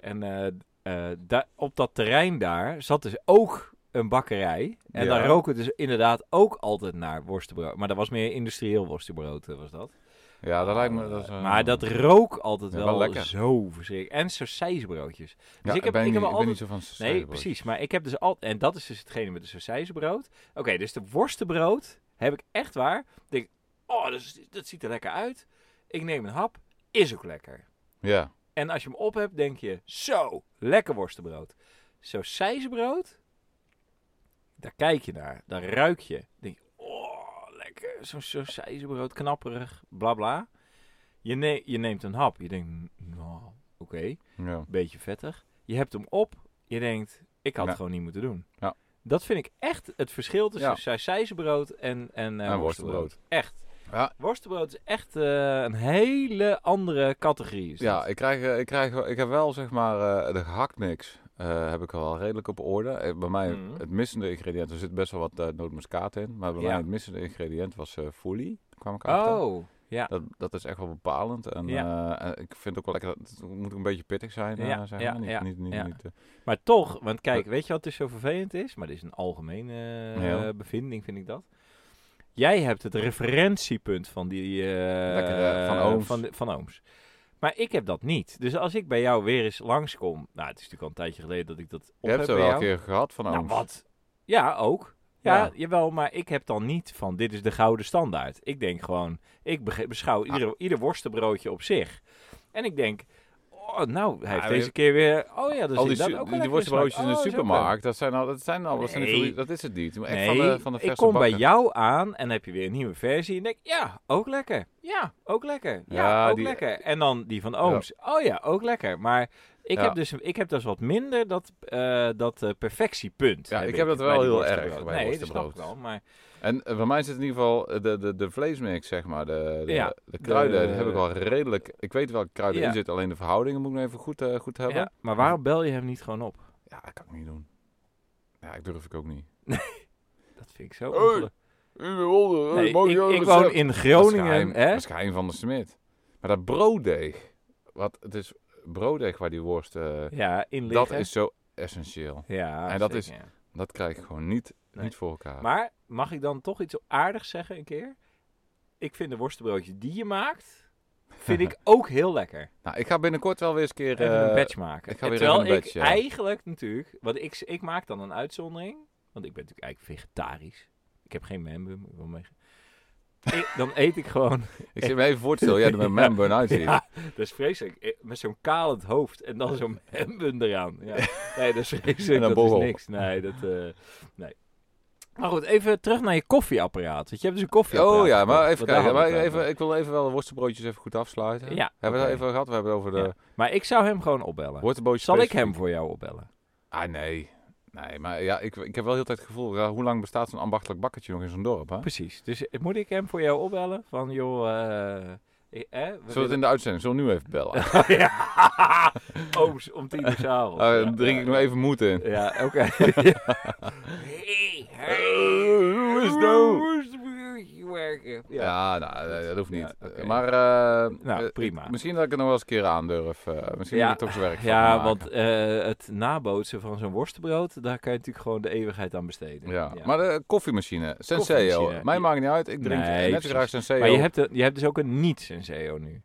S1: En eh, eh, da- op dat terrein daar zat dus ook een bakkerij. En
S2: Ja.
S1: daar rook het dus inderdaad ook altijd naar worstenbrood. Maar dat was meer industrieel worstenbrood, eh, was dat.
S2: ja, dat lijkt me... Dat, is, eh,
S1: Oh. maar dat rook altijd
S2: ja,
S1: wel,
S2: wel lekker.
S1: zo verschrikkelijk. En sausijsbroodjes. Dus
S2: ja,
S1: ik heb,
S2: ben
S1: ik heb
S2: niet, ik ben
S1: altijd...
S2: niet zo van
S1: Nee,
S2: sausage, hoor.
S1: precies. Maar ik heb dus altijd... En dat is dus hetgene met de sausijzenbrood. Oké, dus de worstenbrood heb ik echt waar. Denk, ik, oh, dat, is- dat ziet er lekker uit. Ik neem een hap. Is ook lekker.
S2: Ja.
S1: En als je hem op hebt, denk je, zo, lekker worstenbrood. Sausijzenbrood, daar kijk je naar. Daar ruik je. Denk je, oh, lekker. Zo'n sausijzenbrood, knapperig, bla bla. Je, ne- je neemt een hap. Je denkt, nou, oké
S2: ja.
S1: beetje vettig. Je hebt hem op. Je denkt, ik had
S2: Ja.
S1: het gewoon niet moeten doen.
S2: Ja.
S1: Dat vind ik echt het verschil tussen
S2: Ja.
S1: sausijzenbrood en, en, eh
S2: En
S1: worstenbrood.
S2: worstenbrood.
S1: Echt.
S2: Ja.
S1: Worstenbrood is echt eh, een hele andere categorie. Is
S2: Ja,
S1: dat.
S2: ik, krijg, eh, ik, krijg, wel- ik heb wel zeg maar eh de gehakt niks. eh, heb ik wel redelijk op orde. Eh, Bij mij
S1: Mhm.
S2: het missende ingrediënt, er zit best wel wat eh, nootmuskaat in. Maar bij
S1: Ja.
S2: mij het missende ingrediënt was eh folie, kwam ik achter.
S1: Oh, ja.
S2: Dat, dat is echt wel bepalend. En, eh, en ik vind ook wel lekker, dat- het moet ook een beetje pittig zijn, eh,
S1: Ja,
S2: zeg
S1: ja,
S2: maar. Niet,
S1: ja,
S2: niet, niet,
S1: ja.
S2: niet, eh,
S1: Maar toch, want kijk, weet je wat dus zo vervelend is? Maar dit is een algemene eh,
S2: Ja.
S1: bevinding, vind ik dat. Jij hebt het referentiepunt van die... eh,
S2: Lekker, eh, van Ooms.
S1: Van, van Ooms. Maar ik heb dat niet. Dus als ik bij jou weer eens langskom... Nou, het is natuurlijk al een tijdje geleden dat ik dat op
S2: je hebt
S1: bij
S2: er wel
S1: jou.
S2: een keer gehad van oh,
S1: Nou,
S2: ooms.
S1: wat? Ja, ook. Ja,
S2: Ja.
S1: jawel, maar ik heb dan niet van dit is de gouden standaard. Ik denk gewoon, ik bege- beschouw
S2: Ah.
S1: ieder, ieder worstenbroodje op zich. En ik denk, oh, nou, hij heeft
S2: maar je-
S1: deze keer weer... Oh ja, dat
S2: Al
S1: is
S2: die,
S1: dat ook wel
S2: su- die, die
S1: lekker
S2: worstenbroodjes in
S1: smaak.
S2: de
S1: Oh, is ook leuk.
S2: supermarkt, dat zijn al, dat zijn al, dat, zijn
S1: Nee.
S2: natuurlijk- dat is het niet. Je moet Echt
S1: Nee,
S2: van de, van de
S1: ik
S2: verse
S1: kom bij
S2: bakken.
S1: jou aan en heb je weer een nieuwe versie. En denk, ja, ook lekker. Ja, ook lekker. Ja,
S2: Ja,
S1: ook
S2: die-
S1: lekker. En dan die van ooms. Oh ja, ook lekker. Maar ik,
S2: Ja.
S1: heb, dus, ik heb dus wat minder dat, eh, dat eh, perfectiepunt.
S2: Ja, ik heb dat
S1: bij
S2: wel
S1: die
S2: heel
S1: worstenbrood.
S2: erg bij
S1: Nee, dat snap ik
S2: worstenbrood.
S1: wel. Maar
S2: En eh, bij mij zit in ieder geval eh, de, de, de vleesmix, zeg maar. De, de,
S1: Ja,
S2: de kruiden,
S1: de-
S2: die heb ik wel redelijk... Ik weet welke kruiden
S1: Ja.
S2: in zitten, alleen de verhoudingen moet ik nog even goed, eh, goed hebben.
S1: Ja, maar waarom bel je hem niet gewoon op?
S2: Ja, dat kan ik niet doen. Ja, ik durf ik ook niet.
S1: Dat vind ik zo.
S2: Hey,
S1: ongeluk- Nee, ik, ik woon in Groningen, hè?
S2: Waarschijnlijk van de Smit. Maar dat brooddeeg, wat, het is brooddeeg waar die worst... eh,
S1: Ja, in liggen.
S2: dat is zo essentieel.
S1: Ja,
S2: en dat
S1: zeker,
S2: is-
S1: ja.
S2: Dat krijg ik gewoon niet,
S1: Nee.
S2: niet voor elkaar.
S1: Maar mag ik dan toch iets aardigs zeggen een keer? Ik vind de worstenbroodje die je maakt, vind ik ook heel lekker.
S2: nou, ik ga binnenkort wel weer eens een keer...
S1: Even een
S2: eh,
S1: batch maken.
S2: ik ga weer
S1: Terwijl
S2: even een
S1: ik
S2: batch, ja.
S1: eigenlijk natuurlijk, want ik, ik maak dan een uitzondering, want ik ben natuurlijk eigenlijk vegetarisch. Ik heb geen membum, ik wil meege- Ik- dan eet ik gewoon
S2: ik zit me even voor te stellen, jij er met
S1: Ja.
S2: mijn burn uitziet.
S1: Ja, dat is vreselijk. Eh, Met zo'n kalend hoofd en dan zo'n hemden eraan. Ja. Nee, dat is
S2: En
S1: vreselijk.
S2: een
S1: Dat
S2: borrel.
S1: is niks. Nee, dat... eh, nee. Maar goed, even terug naar je koffieapparaat. Want je hebt dus een koffieapparaat.
S2: Oh ja,
S1: gekocht.
S2: maar even
S1: Want daar
S2: kijken. Maar
S1: hadden we het
S2: even,
S1: over.
S2: ik wil even wel de worstenbroodjes even goed afsluiten.
S1: Ja,
S2: Hebben we
S1: oké.
S2: dat even gehad? We hebben het over de
S1: Maar ik zou hem gewoon opbellen.
S2: worstenbroodjes.
S1: Zal ik
S2: specifiek.
S1: hem voor jou opbellen?
S2: Ah, nee. Nee, maar ja, ik, ik heb wel heel tijd het gevoel, ja, hoe lang bestaat zo'n ambachtelijk bakkertje nog in zo'n dorp, hè?
S1: Precies. Dus eh, moet ik hem voor jou opbellen? Van, joh... eh, eh, eh, we
S2: Zullen we het in de uitzending, zullen we nu even bellen?
S1: willen- ja. Ooms, om tien uur s'avonds.
S2: Ah, dan drink ik nog even moed in.
S1: Ja, oké. Hey,
S2: hoe is het nou?
S1: Hoe is het buurtje werken?
S2: Ja, nou, eh, dat hoeft niet.
S1: Ja, oké.
S2: Maar eh,
S1: Nou,
S2: eh,
S1: prima.
S2: misschien dat ik het nog wel eens een keer aandurf. eh misschien
S1: Ja.
S2: moet ik er toch zijn werk van
S1: Ja,
S2: maken.
S1: want eh, het nabootsen van zo'n worstenbrood, daar kan je natuurlijk gewoon de eeuwigheid aan besteden.
S2: Ja. maar de koffiemachine, Senseo.
S1: Koffiemachine.
S2: Mij
S1: Ja.
S2: maakt niet uit, ik drink
S1: Nee,
S2: net zo
S1: precies.
S2: graag Senseo.
S1: Maar je, hebt een- je hebt dus ook een niet-senseo nu.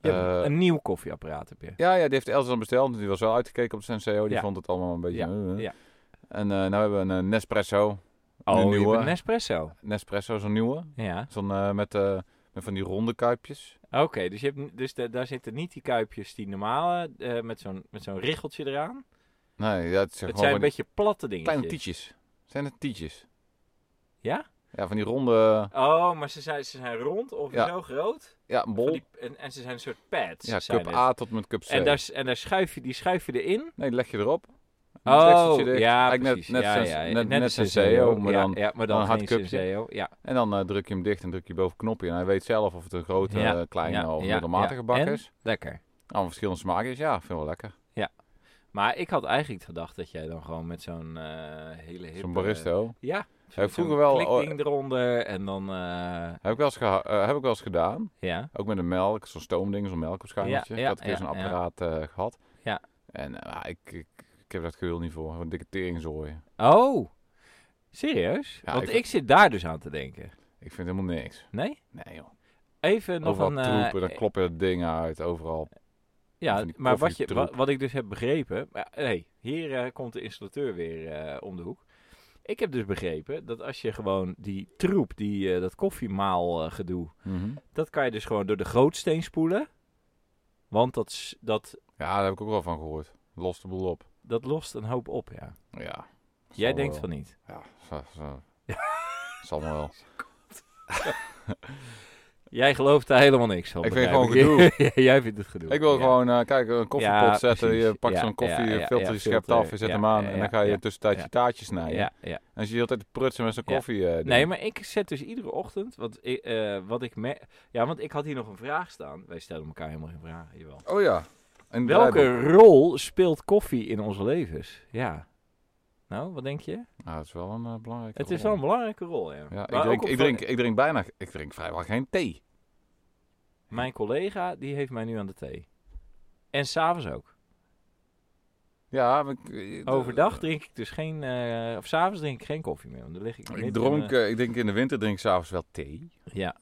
S1: Je hebt
S2: Eh,
S1: een nieuw koffieapparaat heb je.
S2: Ja, ja, die heeft Els dan besteld. want Die was wel uitgekeken op zijn CEO. Die
S1: Ja.
S2: vond het allemaal een beetje...
S1: Ja,
S2: eh, eh.
S1: ja.
S2: En eh nou hebben we een eh, Nespresso.
S1: Oh,
S2: een
S1: je
S2: nieuwe.
S1: hebt een Nespresso.
S2: Nespresso, zo'n nieuwe.
S1: Ja,
S2: Zo'n eh, met, eh, met van die ronde kuipjes.
S1: oké. dus je hebt, n- dus da- daar zitten niet die kuipjes, die normale, eh, met zo'n met zo'n richeltje eraan.
S2: Nee, ja, het zijn
S1: Het zijn
S2: gewoon van
S1: een
S2: die
S1: beetje platte dingetjes.
S2: kleine tietjes. Zijn het tietjes?
S1: Ja?
S2: Ja, van die ronde...
S1: Oh, maar ze zijn, ze zijn rond of
S2: Ja.
S1: zo groot.
S2: Ja, een
S1: Van
S2: bol.
S1: die- en, en ze zijn een soort pads.
S2: Ja,
S1: zijn
S2: cup
S1: het.
S2: A tot en met cup C.
S1: En daar, s- en daar schuif je, die schuif je erin.
S2: Nee, die leg je erop. Dan
S1: Oh,
S2: stekseltje dicht.
S1: ja,
S2: Eigenlijk
S1: precies.
S2: Net, net,
S1: ja,
S2: sens-
S1: ja, ja.
S2: net, net
S1: een
S2: Senseo,
S1: Senseo,
S2: maar
S1: ja,
S2: dan...
S1: ja, maar dan
S2: dan een hard
S1: geen
S2: cupje.
S1: Senseo. Ja,
S2: En dan eh, druk je hem dicht en druk je boven het knopje. En hij weet zelf of het een grote,
S1: Ja,
S2: eh, kleine
S1: ja,
S2: of
S1: ja,
S2: middelmatige
S1: ja.
S2: bak
S1: En?
S2: is.
S1: lekker.
S2: Allemaal verschillende smaken. Dus ja, vind ik wel lekker.
S1: Maar ik had eigenlijk gedacht dat jij dan gewoon met zo'n eh, hele hippe...
S2: Zo'n baristo.
S1: Ja.
S2: Heb ik
S1: zo'n
S2: vroeger wel- oh, eh,
S1: klikding eronder en dan... eh,
S2: Heb ik, wel eens geha- eh, heb ik wel eens gedaan.
S1: ja.
S2: Ook met een melk, zo'n stoomding, zo'n melkopschuimertje.
S1: Ja,
S2: Ja,
S1: ja,
S2: had ik weer
S1: ja,
S2: zo'n
S1: ja.
S2: apparaat eh, gehad.
S1: Ja.
S2: En eh, ah, ik, ik, ik heb dat geul niet voor. Wat een dikke teringzooi.
S1: Oh. Serieus?
S2: Ja,
S1: Want
S2: ik-
S1: ik... zit daar dus aan te denken.
S2: Ik vind helemaal niks.
S1: Nee?
S2: Nee joh.
S1: Even nog
S2: overal
S1: een... eh,
S2: troepen, dan kloppen er dingen uit. Overal.
S1: Ja,
S2: van die
S1: maar wat, je, wa-
S2: koffietroep.
S1: wat, ik dus heb begrepen... Maar, nee, hier eh, komt de installateur weer eh, om de hoek. Ik heb dus begrepen dat als je gewoon die troep, die, eh, dat koffiemaal eh, gedoe...
S2: Mhm.
S1: Dat kan je dus gewoon door de grootsteen spoelen. Want dat, s- dat,
S2: Ja, daar heb ik ook wel van gehoord. Lost de boel op.
S1: dat lost een hoop op, ja.
S2: Ja.
S1: Jij
S2: Zal
S1: denkt
S2: wel.
S1: van niet.
S2: Ja, zo, zo. zal maar wel.
S1: Jij gelooft daar helemaal niks van.
S2: Ik vind
S1: begrijp
S2: gewoon
S1: ik. Ja, Jij vindt het gedoe.
S2: Ik wil
S1: Ja.
S2: gewoon, eh, kijk, een koffiepot
S1: Ja,
S2: zetten. Je
S1: precies.
S2: pakt
S1: Ja,
S2: zo'n
S1: ja, ja,
S2: koffiefilter,
S1: ja,
S2: je schept
S1: filter,
S2: af, je zet
S1: ja,
S2: hem aan.
S1: ja,
S2: en
S1: ja,
S2: dan ga je
S1: ja.
S2: tussentijds je taartjes snijden.
S1: Ja, ja.
S2: En dan zie je altijd te prutsen met zo'n
S1: Ja.
S2: koffie. eh, ding.
S1: Nee, maar ik zet dus iedere ochtend... Want ik, eh, wat ik me ja, want ik had hier nog een vraag staan. Wij stellen elkaar helemaal geen vragen, jawel.
S2: Oh ja. En
S1: Welke rol speelt koffie in onze levens? Ja. Nou, wat denk je?
S2: Nou, dat is wel een eh, belangrijke
S1: Het is
S2: rol.
S1: wel een belangrijke rol, ja.
S2: Ja,
S1: Maar
S2: ik, drink,
S1: ook van-
S2: ik, drink, ik drink bijna, ik drink vrijwel geen thee.
S1: Mijn collega, die heeft mij nu aan de thee. En s'avonds ook.
S2: Ja, maar ik, eh,
S1: Overdag drink ik dus geen, eh, of s'avonds drink ik geen koffie meer. Want dan lig ik. midden
S2: Ik
S1: in
S2: dronk,
S1: de-
S2: eh, ik denk in de winter drink ik s'avonds wel thee.
S1: ja,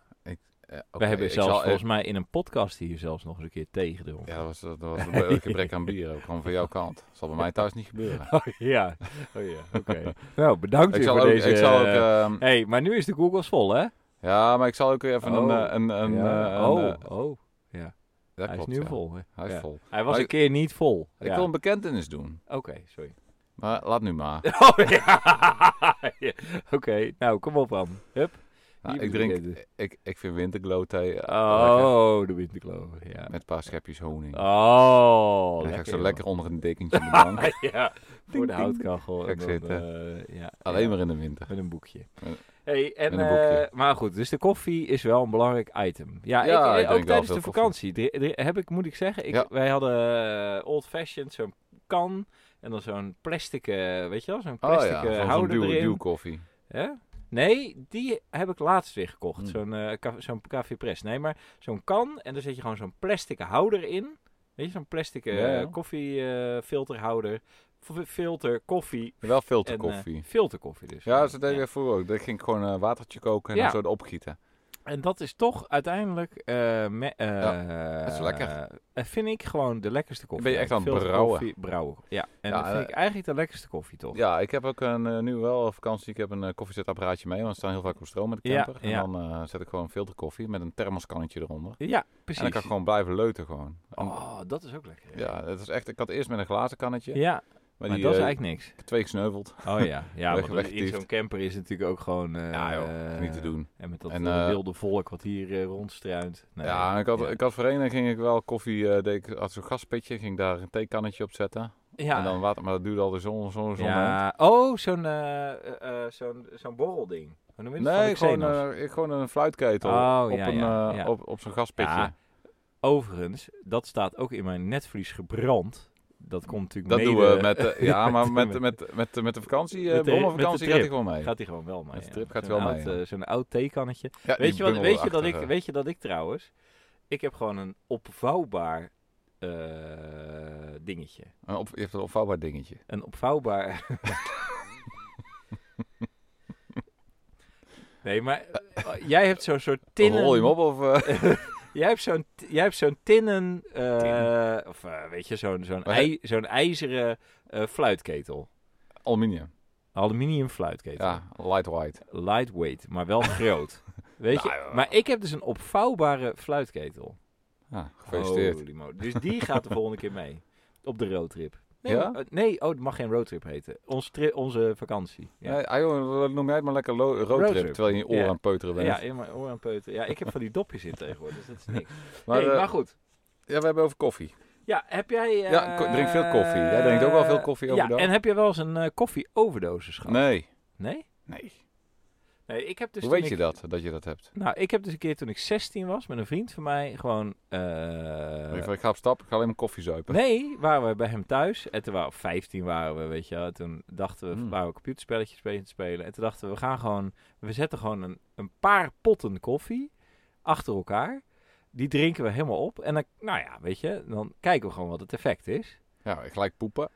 S2: Eh,
S1: we
S2: oké,
S1: hebben
S2: ik
S1: zelfs
S2: zal-
S1: volgens mij in een podcast hier zelfs nog eens een keer thee gedronken.
S2: Ja, dat was, dat was een gebrek aan bier. ook gewoon van jouw kant. Dat zal bij mij thuis niet gebeuren.
S1: Oh ja, oh, ja. oké. nou, bedankt
S2: Ik
S1: weer
S2: zal
S1: voor
S2: ook,
S1: deze.
S2: ik zal ook,
S1: eh,
S2: ehm,
S1: hey, maar nu is de Googles vol, hè?
S2: ja, maar ik zal ook even een,
S1: Oh.
S2: eh, een, een,
S1: Ja.
S2: eh, een,
S1: oh,
S2: eh,
S1: oh,
S2: dat
S1: hij is
S2: klopt,
S1: nu
S2: ja.
S1: vol. hè?
S2: Hij is
S1: Ja.
S2: vol.
S1: Hij was
S2: Maar
S1: een
S2: ik-
S1: keer niet vol.
S2: Ik
S1: Ja.
S2: wil een bekentenis doen,
S1: Oké, sorry.
S2: maar laat nu maar.
S1: Oh ja. Ja. Oké, nou kom op dan. Hup.
S2: Nou,
S1: Hier
S2: ik
S1: doe ik
S2: drink, ik, ik vind winterglow thee eh, lekker.
S1: Oh, de winterkloof. Ja.
S2: met een paar schepjes honing.
S1: Oh,
S2: en dan ga ik zo
S1: man.
S2: lekker onder een dekentje op de bank.
S1: ja, voor de houtkachel.
S2: Ga ik
S1: En dan, eh, ja,
S2: Alleen
S1: ja,
S2: maar in de winter.
S1: Met een boekje.
S2: Met-
S1: Hey, en,
S2: met een boekje.
S1: eh, maar goed, dus de koffie is wel een belangrijk item. Ja,
S2: Ja,
S1: ik, eh,
S2: ik drink wel
S1: ook tijdens
S2: veel
S1: de
S2: koffie.
S1: vakantie dri- dri- heb ik, moet ik zeggen, ik,
S2: Ja.
S1: wij hadden eh, old fashioned zo'n kan en dan zo'n plastic, eh, weet je wel, zo'n
S2: Oh
S1: plastic
S2: ja,
S1: eh,
S2: van zo'n
S1: houder
S2: duw,
S1: erin.
S2: duwkoffie.
S1: Hè? Nee, die heb ik laatst weer gekocht.
S2: Hmm.
S1: Zo'n eh, ka- zo'n café press. Nee, maar zo'n kan en daar zet je gewoon zo'n plastic houder in. Weet je, zo'n plastic eh,
S2: Ja, ja.
S1: koffiefilterhouder. filter, koffie.
S2: Wel
S1: en, eh,
S2: filterkoffie.
S1: filterkoffie dus.
S2: ja, ze deden vroeger ook. Dat ging ik gewoon eh, watertje koken en
S1: Ja.
S2: dan zo erop gieten.
S1: En dat is toch uiteindelijk... eh, me- eh,
S2: dat is lekker.
S1: eh, vind ik gewoon de lekkerste koffie.
S2: Ben je echt aan het
S1: Filterkoffie, brouwen. Ja, en
S2: Ja,
S1: dat vind
S2: eh,
S1: ik eigenlijk de lekkerste koffie toch.
S2: Ja, ik heb ook een, eh, nu wel op vakantie. Ik heb een eh, koffiezetapparaatje mee, want we staan heel vaak op stroom met de
S1: Ja,
S2: camper.
S1: ja.
S2: En dan eh, zet ik gewoon filterkoffie met een thermoskannetje eronder.
S1: Ja,
S2: En dan
S1: precies.
S2: kan ik gewoon blijven leuten gewoon. En-
S1: Oh, dat is ook lekker.
S2: Ja, dat is echt, ik had eerst met een glazen kannetje,
S1: ja, maar
S2: maar die
S1: dat is
S2: eh,
S1: eigenlijk niks.
S2: twee gesneuveld.
S1: Oh ja, ja
S2: Weg-
S1: want dat- in
S2: weggetiefd.
S1: zo'n camper is het natuurlijk ook gewoon... eh,
S2: Ja, joh,
S1: eh,
S2: niet te doen.
S1: En met dat
S2: En,
S1: eh,
S2: eh,
S1: wilde volk wat hier eh, rondstruint. Nee,
S2: ja, en ik had,
S1: ja.
S2: ik had voor één, dan ging ik wel koffie, eh, deed ik, had zo'n gaspitje, ging daar een theekannetje op zetten.
S1: Ja.
S2: En dan water, maar dat duurde al de zon, zon, zon. aan.
S1: ja. Oh, zo'n eh, eh, eh, zo'n zo'n borrelding. Hoe noem je dat? Van
S2: Nee,
S1: de
S2: gewoon,
S1: Xenos.
S2: eh, ik- gewoon een fluitketel
S1: Oh,
S2: op,
S1: ja,
S2: een,
S1: ja,
S2: eh,
S1: ja.
S2: op, op zo'n gaspitje.
S1: Ja, Overigens, dat staat ook in mijn netvlies gebrand. Dat komt natuurlijk
S2: dat
S1: mede-
S2: doen we met, eh, ja, maar
S1: met-
S2: met, met, met, met de vakantie, eh
S1: Met de- met de
S2: brommervakantie
S1: trip.
S2: gaat hij gewoon mee.
S1: Gaat hij gewoon wel mee.
S2: Met de
S1: ja.
S2: trip gaat
S1: Zo'n
S2: wel
S1: oud,
S2: mee, ja.
S1: eh, zo'n oud theekannetje.
S2: Ja, die eh.
S1: Weet je, wat, weet, je dat ik,
S2: bundelachtige.
S1: weet je dat ik trouwens... Ik heb gewoon een opvouwbaar eh, dingetje.
S2: Een op- je hebt een opvouwbaar dingetje.
S1: Een opvouwbaar. nee, maar eh, jij hebt zo'n soort tinnen.
S2: Rol je hem op of... eh,
S1: Jij hebt zo'n, jij hebt zo'n tinnen, eh,
S2: Tin.
S1: of eh, weet je, zo'n, zo'n,
S2: Maar-
S1: ij- zo'n ijzeren eh, fluitketel.
S2: aluminium.
S1: Aluminium fluitketel.
S2: Ja, light white.
S1: Lightweight, maar wel groot. Weet je?
S2: Nou, ja.
S1: Maar ik heb dus een opvouwbare fluitketel.
S2: Ja,
S1: Ah,
S2: gefeliciteerd.
S1: Holy moly. Dus die gaat de volgende keer mee. Op de roadtrip. Nee,
S2: Ja?
S1: maar- eh, nee oh, het mag geen roadtrip heten. Onze, tri- onze vakantie. Ja.
S2: Nee, ah, joh, noem jij het maar lekker lo- roadtrip,
S1: Roadtrip.
S2: terwijl je in je oren
S1: Ja.
S2: aan het peuteren bent.
S1: Ja, in mijn oor aan peuten. Ja, ik heb van die dopjes in tegenwoordig, dus dat is niks.
S2: maar,
S1: Maar,
S2: eh,
S1: maar goed.
S2: ja, we hebben over koffie.
S1: Ja, heb jij... eh,
S2: Ja, ik drink veel koffie. Jij drinkt ook wel veel koffie
S1: ja,
S2: overdag?
S1: en heb je wel eens een eh, koffie-overdosis gehad?
S2: Nee.
S1: Nee?
S2: Nee.
S1: Nee, ik heb dus
S2: Hoe
S1: toen
S2: weet je
S1: ik-
S2: dat, dat je dat hebt?
S1: Nou, ik heb dus een keer toen ik 16 was met een vriend van mij gewoon. eh,
S2: Weet je van, ik ga op stap, ik ga alleen maar koffie zuipen.
S1: Nee, waren we bij hem thuis. En toen we op 15 waren we, weet je wel. Toen dachten we,
S2: Hmm.
S1: waren we computerspelletjes bezig te spelen. En toen dachten we, we gaan gewoon, we zetten gewoon een, een paar potten koffie achter elkaar. Die drinken we helemaal op. En dan, nou ja, weet je, dan kijken we gewoon wat het effect is.
S2: Ja, gelijk poepen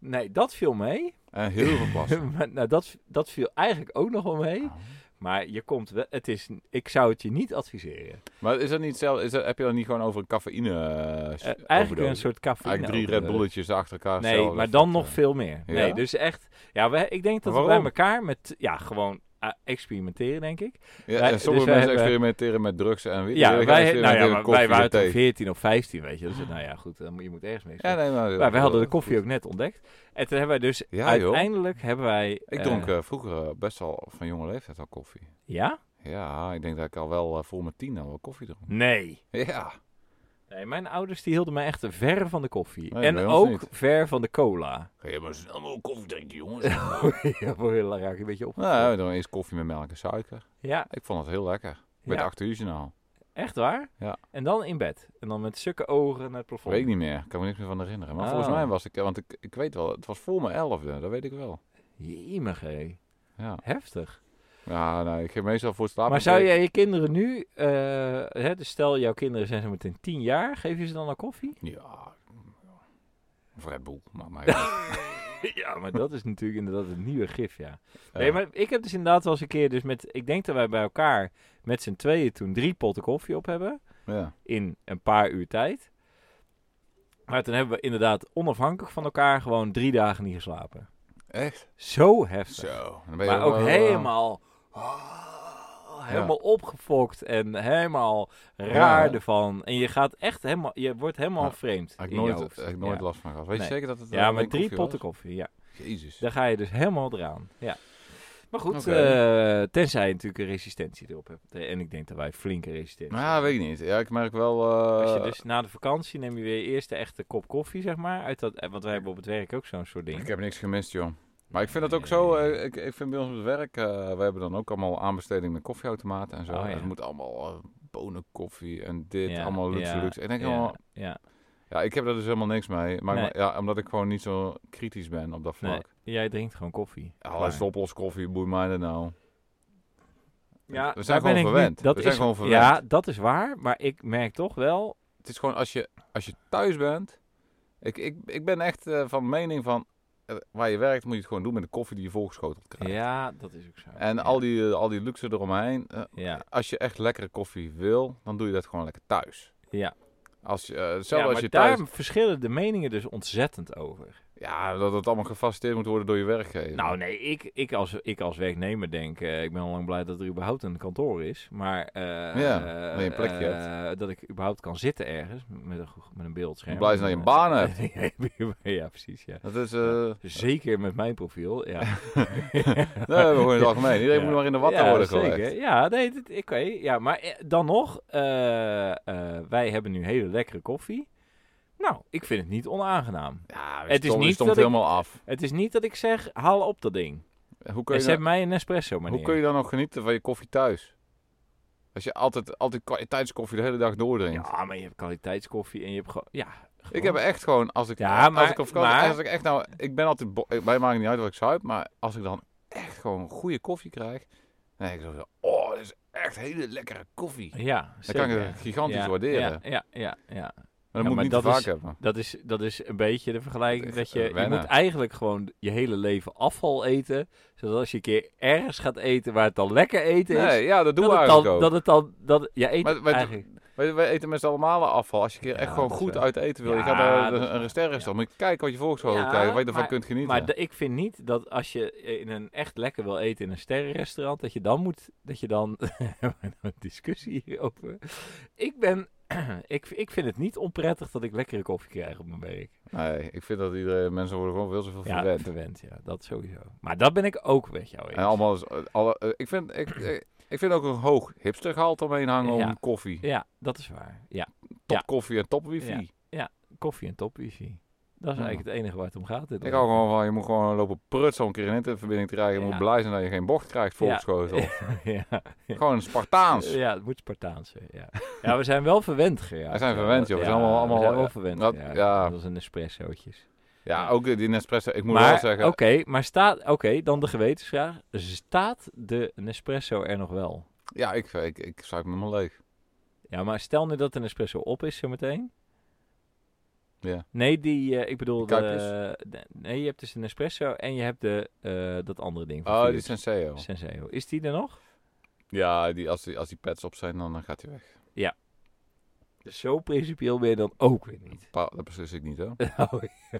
S1: Nee, dat viel mee.
S2: en heel veel plassen.
S1: Maar, nou, dat, dat viel eigenlijk ook nog wel mee.
S2: Ah.
S1: Maar je komt wel, het is, ik zou het je niet adviseren.
S2: Maar is dat niet hetzelfde? Is dat, heb je dan niet gewoon over een cafeïne
S1: Eh, eigenlijk een
S2: overdosis?
S1: soort cafeïne. eh,
S2: Eigenlijk drie Red
S1: overdosis.
S2: Bulletjes achter elkaar.
S1: Nee,
S2: hetzelfde
S1: maar
S2: effect,
S1: dan nog
S2: eh.
S1: veel meer.
S2: Ja?
S1: Nee, dus echt. Ja, we, ik denk dat we bij
S2: Waarom?
S1: elkaar met. Ja, gewoon eh, experimenteren, denk ik.
S2: Ja,
S1: Wij-
S2: en sommige
S1: dus wij
S2: mensen
S1: hebben-
S2: experimenteren met drugs en wiet.
S1: ja,
S2: Jullie gaan
S1: wij, nou
S2: experimenteren
S1: ja,
S2: met
S1: maar
S2: koffie
S1: wij
S2: en
S1: waren toen
S2: thee.
S1: 14 of 15, weet je. Dus nou ja, goed, dan moet- je moet ergens mee.
S2: Ja, nee, maar...
S1: maar we hadden de koffie ook net ontdekt. En toen hebben wij dus.
S2: Ja, joh.
S1: uiteindelijk hebben wij.
S2: Ik
S1: eh,
S2: dronk eh, vroeger eh, best wel van jonge leeftijd al koffie.
S1: ja?
S2: Ja, ik denk dat ik al wel eh, voor mijn tien al wel koffie dronk.
S1: Nee.
S2: Ja.
S1: Nee, mijn ouders die hielden mij echt ver van de koffie.
S2: Nee,
S1: en
S2: bij ons
S1: ook
S2: niet.
S1: ver van de cola.
S2: Ga je maar snel mogelijk koffie drinken, jongens.
S1: ja, voor heel lang raak ik een beetje op.
S2: nou, we doen eerst koffie met melk en suiker.
S1: ja,
S2: Ik vond het heel lekker. Bij
S1: ja,
S2: het 8 uur journaal.
S1: echt waar?
S2: Ja.
S1: En dan in bed. En dan met sukke ogen naar het plafond.
S2: Weet ik niet meer. Kan me niks meer van herinneren. Maar
S1: Oh.
S2: volgens mij was ik... eh, Want ik, ik weet wel, het was voor mijn elfde. Dat weet ik wel.
S1: Jemig, hé.
S2: Ja,
S1: Heftig.
S2: ja nou, ik geef meestal voor het slapen.
S1: maar zou jij je kinderen nu, eh, hè, dus stel jouw kinderen zijn zo meteen tien jaar, geef je ze dan al koffie?
S2: Ja. Of Red Bull. Maar, maar, ja.
S1: ja, maar dat is natuurlijk inderdaad het nieuwe gif, ja. Nee, maar ik heb dus inderdaad wel eens een keer, dus met, ik denk dat wij bij elkaar met z'n tweeën toen drie potten koffie op hebben,
S2: Ja.
S1: in een paar uur tijd. Maar toen hebben we inderdaad onafhankelijk van elkaar gewoon drie dagen niet geslapen.
S2: Echt?
S1: Zo heftig.
S2: Zo. Dan ben je
S1: Maar ook
S2: wel- eh,
S1: helemaal, oh, helemaal opgefokt en helemaal raar
S2: Ja.
S1: ervan. En je gaat echt helemaal, je wordt helemaal
S2: Ja,
S1: vreemd
S2: Had
S1: in
S2: ik
S1: je
S2: nooit,
S1: hoofd.
S2: had ik nooit
S1: ja.
S2: last van gehad. Weet
S1: Nee.
S2: je zeker dat het...
S1: Ja,
S2: eh,
S1: maar drie
S2: een koffie was?
S1: potten koffie, ja.
S2: Jezus.
S1: Daar ga je dus helemaal eraan, ja. Maar goed,
S2: Oké.
S1: eh, tenzij je natuurlijk een resistentie erop hebt. Eh, En ik denk dat wij flinke resistentie
S2: Nou,
S1: hebben.
S2: weet ik niet. Ja, ik merk wel... eh,
S1: Als je dus na de vakantie neem je weer eerst de echte kop koffie, zeg maar. Uit dat, eh, want wij hebben op het werk ook zo'n soort
S2: Ik
S1: ding.
S2: heb niks gemist, joh. Maar ik vind dat ook zo... eh, ik, ik vind bij ons op het werk... eh, we hebben dan ook allemaal aanbesteding met koffieautomaten en zo.
S1: Oh, ja.
S2: Het moet allemaal eh, bonenkoffie en dit.
S1: Ja,
S2: allemaal luxe,
S1: ja,
S2: luxe. Ik denk
S1: ja,
S2: allemaal...
S1: ja.
S2: Ja, ik heb daar dus helemaal niks mee. Maar ik-
S1: Nee.
S2: ja, omdat ik gewoon niet zo kritisch ben op dat vlak.
S1: Nee, jij drinkt gewoon koffie.
S2: Ja,
S1: Klaar.
S2: is oplos koffie, boeit mij dat nou.
S1: Ja,
S2: we zijn
S1: daar ben
S2: gewoon
S1: ik
S2: verwend.
S1: niet- dat
S2: we zijn
S1: is,
S2: gewoon verwend.
S1: Ja, dat is waar. Maar ik merk toch wel...
S2: Het is gewoon als je, als je thuis bent. Ik, ik, ik ben echt eh, van mening van eh, waar je werkt, moet je het gewoon doen met de koffie die je volgeschoteld krijgt.
S1: Ja, dat is ook zo.
S2: En
S1: ja.
S2: al, die, eh, al die luxe eromheen. eh,
S1: Ja,
S2: als je echt lekkere koffie wil, dan doe je dat gewoon lekker thuis.
S1: ja.
S2: Als je, eh,
S1: ja
S2: zelfs
S1: maar
S2: als je
S1: daar
S2: thuis...
S1: verschillen de meningen dus ontzettend over.
S2: Ja, dat het allemaal gefaciliteerd moet worden door je werkgever.
S1: Nou nee, ik, ik, als, ik als werknemer denk... eh, ik ben al lang blij dat er überhaupt een kantoor is. Maar... eh,
S2: Ja,
S1: eh,
S2: dat je een plekje
S1: eh, dat ik überhaupt kan zitten ergens met een, met een beeldscherm.
S2: Blij zijn dat je een baan
S1: ja, precies, ja.
S2: Dat is... eh
S1: Zeker met mijn profiel, ja.
S2: nee, maar gewoon in het algemeen. Iedereen
S1: Ja.
S2: moet maar in de watten
S1: ja,
S2: worden
S1: zeker.
S2: gelegd.
S1: Ja, nee, dit- oké. Ja, maar eh, dan nog, eh, eh, wij hebben nu hele lekkere koffie. Nou, ik vind het niet onaangenaam.
S2: Ja,
S1: Het is
S2: stom-
S1: niet
S2: stomt
S1: dat ik-
S2: helemaal af.
S1: Het is niet dat ik zeg, haal op dat ding.
S2: Hoe
S1: En
S2: kun je
S1: ze
S2: nou-
S1: hebben mij een Nespresso, meneer.
S2: Hoe kun je dan nog genieten van je koffie thuis? Als je altijd, altijd kwaliteitskoffie de hele dag doordrinkt.
S1: Ja, maar je hebt kwaliteitskoffie en je hebt gewoon... Ja,
S2: Ik heb echt gewoon, als ik,
S1: Ja, maar-
S2: als ik op vakantie,
S1: maar-
S2: als ik echt nou, ik ben altijd, bo- ik- mij maakt niet uit wat ik zuip, maar als ik dan echt gewoon goede koffie krijg, dan denk ik zo, oh, dit is echt hele lekkere koffie.
S1: Ja,
S2: Dan kan ik
S1: zeker.
S2: het gigantisch
S1: Ja,
S2: waarderen.
S1: Ja, ja, ja, ja.
S2: Maar dat
S1: Ja,
S2: moet
S1: maar
S2: ik niet
S1: dat
S2: te vaak
S1: is-
S2: hebben.
S1: Dat is, dat is een beetje de vergelijking
S2: Dat
S1: dat
S2: is eh,
S1: je... Je
S2: wennen.
S1: moet eigenlijk gewoon je hele leven afval eten. Zodat als je een keer ergens gaat eten waar het dan lekker eten is...
S2: Nee, ja, dat doen we
S1: dat, het
S2: eigenlijk
S1: dan,
S2: ook.
S1: dat het dan... Dat, ja, eten
S2: Maar- maar-
S1: eigenlijk...
S2: Wij, wij eten met z'n allemaal afval. Als je een keer
S1: Ja,
S2: echt gewoon
S1: dat is
S2: goed
S1: waar.
S2: uit eten wil, je
S1: Ja,
S2: gaat
S1: dat is
S2: naar
S1: waar.
S2: een restaurant, moet je kijken wat je volgens
S1: Ja,
S2: krijgt, waar je ervan
S1: maar-
S2: kunt genieten.
S1: Maar de- ik vind niet dat als je in een echt lekker wil eten in een sterrenrestaurant, dat je dan moet, dat je dan een discussie hierover. Ik ben, ik, ik vind het niet onprettig dat ik lekkere koffie krijg op mijn werk.
S2: Nee, ik vind dat iedereen, mensen worden gewoon veel zoveel
S1: Ja,
S2: verwend.
S1: verwend, ja, dat sowieso. Maar dat ben ik ook met jou eens.
S2: En allemaal, is- alle, eh, ik, vind, ik, ik- ik vind ook een hoog hipstergehalte omheen hangen
S1: Ja.
S2: om koffie.
S1: Ja, dat is waar. Ja,
S2: Top
S1: ja.
S2: koffie en top wifi.
S1: Ja. koffie en top wifi. Dat is
S2: Ja.
S1: eigenlijk het enige waar het om gaat. dit
S2: Ik
S1: land.
S2: hou gewoon van, je moet gewoon lopen prutsen om een keer een internetverbinding te krijgen. Je
S1: Ja.
S2: moet blij zijn dat je geen bocht krijgt volkschotel.
S1: ja.
S2: Gewoon een Spartaans.
S1: ja, het moet Spartaans zijn. Ja. ja, we zijn wel verwend geraakt.
S2: We zijn verwend, joh. We zijn allemaal- allemaal-
S1: we zijn wel verwend
S2: dat-
S1: geraakt.
S2: ja.
S1: Dat is een espressootjes.
S2: Ja, ook die Nespresso. Ik moet
S1: maar,
S2: wel zeggen,
S1: Oké, maar staat... Oké, dan de gewetensvraag. Staat de Nespresso er nog wel?
S2: ja, ik, ik, ik zuip me helemaal leeg.
S1: Ja, maar stel nu dat de Nespresso op is zometeen.
S2: Ja.
S1: Nee, die... eh, ik bedoel...
S2: Die
S1: de-
S2: kuipjes?
S1: de- nee, je hebt dus de Nespresso en je hebt de, eh, dat andere ding. van
S2: Oh, die
S1: Philips.
S2: Senseo.
S1: Senseo. Is die er nog?
S2: Ja, die, als, die, als die pads op zijn, dan, dan gaat hij weg.
S1: Zo principieel ben je dan ook weer niet.
S2: Pa- dat beslis ik niet, hoor.
S1: Oh, ja.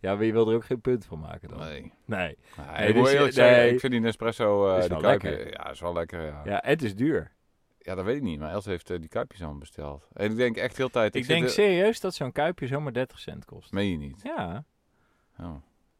S1: ja, maar je wil er ook geen punt van maken dan. Nee.
S2: Nee.
S1: Nee, dus
S2: ik moet
S1: je-
S2: eerlijk zeggen,
S1: nee.
S2: ik vind die Nespresso, eh
S1: Is
S2: die
S1: wel
S2: kuipje,
S1: lekker.
S2: ja, is wel lekker, ja. ja.
S1: Ja, het is duur.
S2: dat weet ik niet, maar Els heeft eh, die kuipjes aan besteld. En ik denk echt heel de tijd...
S1: Ik
S2: zit
S1: denk
S2: er-
S1: serieus dat zo'n kuipje zomaar 30 cent kost.
S2: Meen je niet?
S1: Ja.
S2: Oh.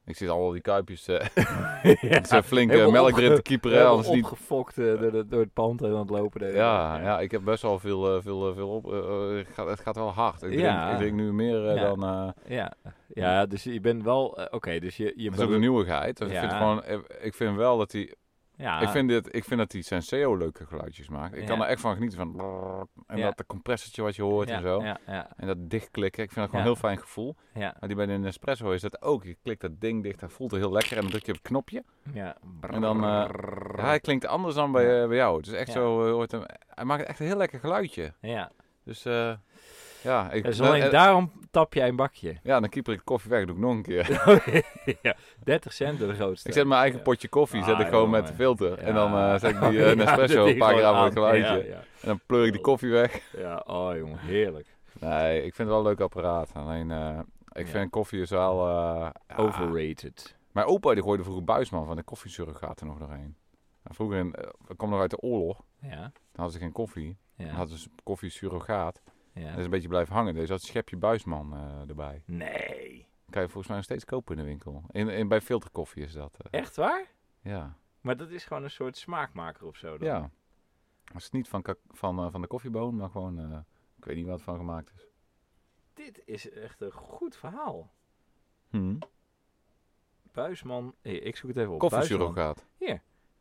S2: Ik zit al die kuipjes... eh
S1: ja.
S2: met zijn flink eh,
S1: helemaal
S2: melk
S1: opge-
S2: erin te kieperen,
S1: Helemaal
S2: anders niet...
S1: opgefokt eh, door, de- door het pand en aan het lopen. de hele
S2: Ja,
S1: dag.
S2: ja, ik heb best wel veel, eh, veel, eh, veel op... eh, eh, het gaat, het gaat wel hard. Ik drink,
S1: Ja.
S2: ik drink nu meer eh,
S1: Ja.
S2: dan... eh,
S1: ja. Ja, dus je bent wel... eh, Oké, dus je... je
S2: dat is ook een nieuwigheid. Dus ik,
S1: Ja.
S2: vind gewoon, eh, ik vind wel dat die...
S1: Ja,
S2: Ik, vind dit, ik vind dat die Senseo leuke geluidjes maakt. Ik kan
S1: Ja.
S2: er echt van genieten. Van brrr, en
S1: Ja.
S2: dat de compressortje wat je hoort
S1: ja,
S2: en zo.
S1: Ja, ja,
S2: En dat dichtklikken. Ik vind dat gewoon
S1: Ja.
S2: een heel fijn gevoel.
S1: ja.
S2: Maar Nou, die bij de Nespresso is dat ook. Je klikt dat ding dicht, dat voelt er heel lekker. En dan druk je op het knopje.
S1: ja.
S2: En dan, eh, Ja, hij klinkt anders dan bij, eh, bij jou. Het is echt
S1: Ja.
S2: zo, eh, hoort hem, hij maakt echt een heel lekker geluidje.
S1: ja.
S2: Dus eh, ja, ik,
S1: Dus alleen
S2: eh,
S1: daarom tap jij een bakje.
S2: ja, dan kieper ik de koffie weg, doe ik nog een keer.
S1: ja. 30 cent door de grootste.
S2: Oh, Ik zet mijn eigen potje koffie, zet
S1: Ah,
S2: ik gewoon
S1: jongen.
S2: met de filter. En
S1: Ja.
S2: dan eh, zet ik die eh,
S1: Ja,
S2: Nespresso
S1: dat
S2: een paar
S1: ding
S2: gram
S1: gewoon
S2: voor het
S1: aan.
S2: geluidje.
S1: Ja,
S2: En dan pleur ik de koffie weg.
S1: ja. ja, oh jongen, heerlijk.
S2: Nee, ik vind het wel een leuk apparaat. Alleen, eh, ik
S1: Ja.
S2: vind koffie is wel... eh, ja.
S1: Overrated.
S2: Mijn opa die gooide vroeger buisman van de koffiesurrogaat er nog doorheen. En vroeger, in, eh, ik kwam nog uit de oorlog,
S1: Ja.
S2: dan hadden ze geen koffie. Dan
S1: ja.
S2: hadden ze koffiesurrogaat.
S1: ja.
S2: Dat is een beetje blijven hangen. Dus dat schepje buisman eh, erbij.
S1: Nee.
S2: Kan je volgens mij nog steeds kopen in de winkel. In, in, bij filterkoffie is dat. eh.
S1: Echt waar?
S2: Ja.
S1: Maar dat is gewoon een soort smaakmaker of zo. Dan.
S2: ja. Dat is niet van, kak- van, eh, van de koffieboon, maar gewoon... eh, ik weet niet wat van gemaakt is.
S1: Dit is echt een goed verhaal.
S2: Hm.
S1: Buisman. Hey, ik zoek het even op. Buisman.
S2: Koffiesurrogaat.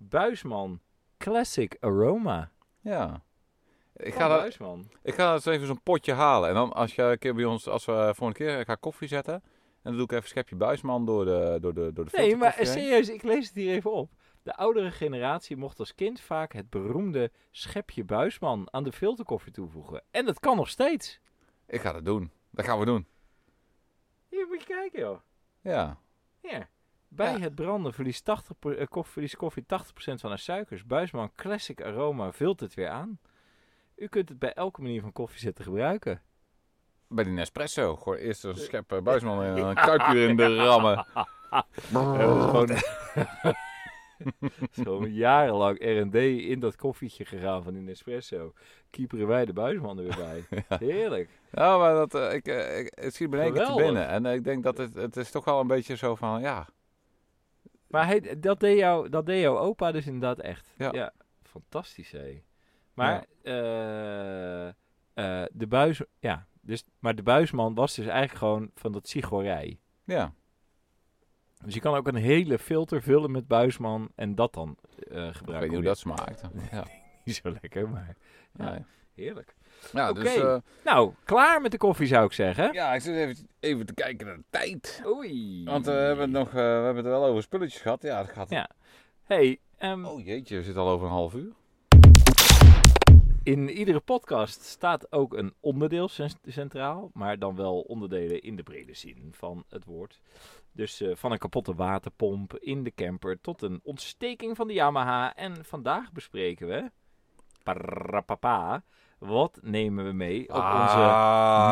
S1: Buisman Classic Aroma.
S2: Ja. Ik
S1: Van
S2: ga dat,
S1: Buisman.
S2: Ik ga eens even zo'n potje halen. En dan als je een keer bij ons, als we eh, volgende keer ik ga koffie zetten. En dan doe ik even een schepje buisman door de door de door de
S1: Nee, maar eh,
S2: filterkoffie heen.
S1: serieus, ik lees het hier even op. De oudere generatie mocht als kind vaak het beroemde schepje Buisman aan de filterkoffie toevoegen. En dat kan nog steeds.
S2: Ik ga dat doen. Dat gaan we doen.
S1: Hier moet je kijken, joh.
S2: Ja.
S1: Ja. Bij
S2: Ja.
S1: het branden verliest, 80 pro- eh, koffie, verliest koffie 80% van haar suikers. Buisman Classic Aroma vult het weer aan. U kunt het bij elke manier van koffie zetten gebruiken.
S2: Bij die Nespresso. Gooi eerst een schep eh, buisman in en dan kuip je erin de rammen.
S1: gewoon, gewoon jarenlang R&D in dat koffietje gegaan van die Nespresso. Kieperen wij de buisman er weer bij. Heerlijk.
S2: Ja, maar dat, eh, ik, eh, ik, het schiet me in één keer te
S1: Geweldig.
S2: binnen. En eh, ik denk dat het, het is toch wel een beetje zo van, ja,
S1: Maar hij, dat, deed jou, dat deed jouw opa dus inderdaad echt. Ja.
S2: Ja.
S1: fantastisch hé. Maar eh, eh, de buis, ja, dus, maar de buisman was dus eigenlijk gewoon van dat sigorij.
S2: ja.
S1: Dus je kan ook een hele filter vullen met buisman en dat dan eh,
S2: Ik
S1: gebruiken.
S2: weet niet hoe dat smaakt. Ja,
S1: Niet zo lekker, maar Ja.
S2: Nee.
S1: heerlijk.
S2: ja dus...
S1: Oké.
S2: eh,
S1: Nou, klaar met de koffie zou ik zeggen.
S2: ja, ik zit even, even te kijken naar de tijd.
S1: Oei.
S2: Want eh, we, hebben het nog, eh, we hebben het wel over spulletjes gehad. Ja, dat gaat
S1: Ja. Hey, ehm,
S2: Oh jeetje, we zitten al over een half uur.
S1: In iedere podcast staat ook een onderdeel cen- centraal, maar dan wel onderdelen in de brede zin van het woord. Dus eh, van een kapotte waterpomp in de camper tot een ontsteking van de Yamaha. En vandaag bespreken we. Parapapa, wat nemen we mee op
S2: Ah.
S1: onze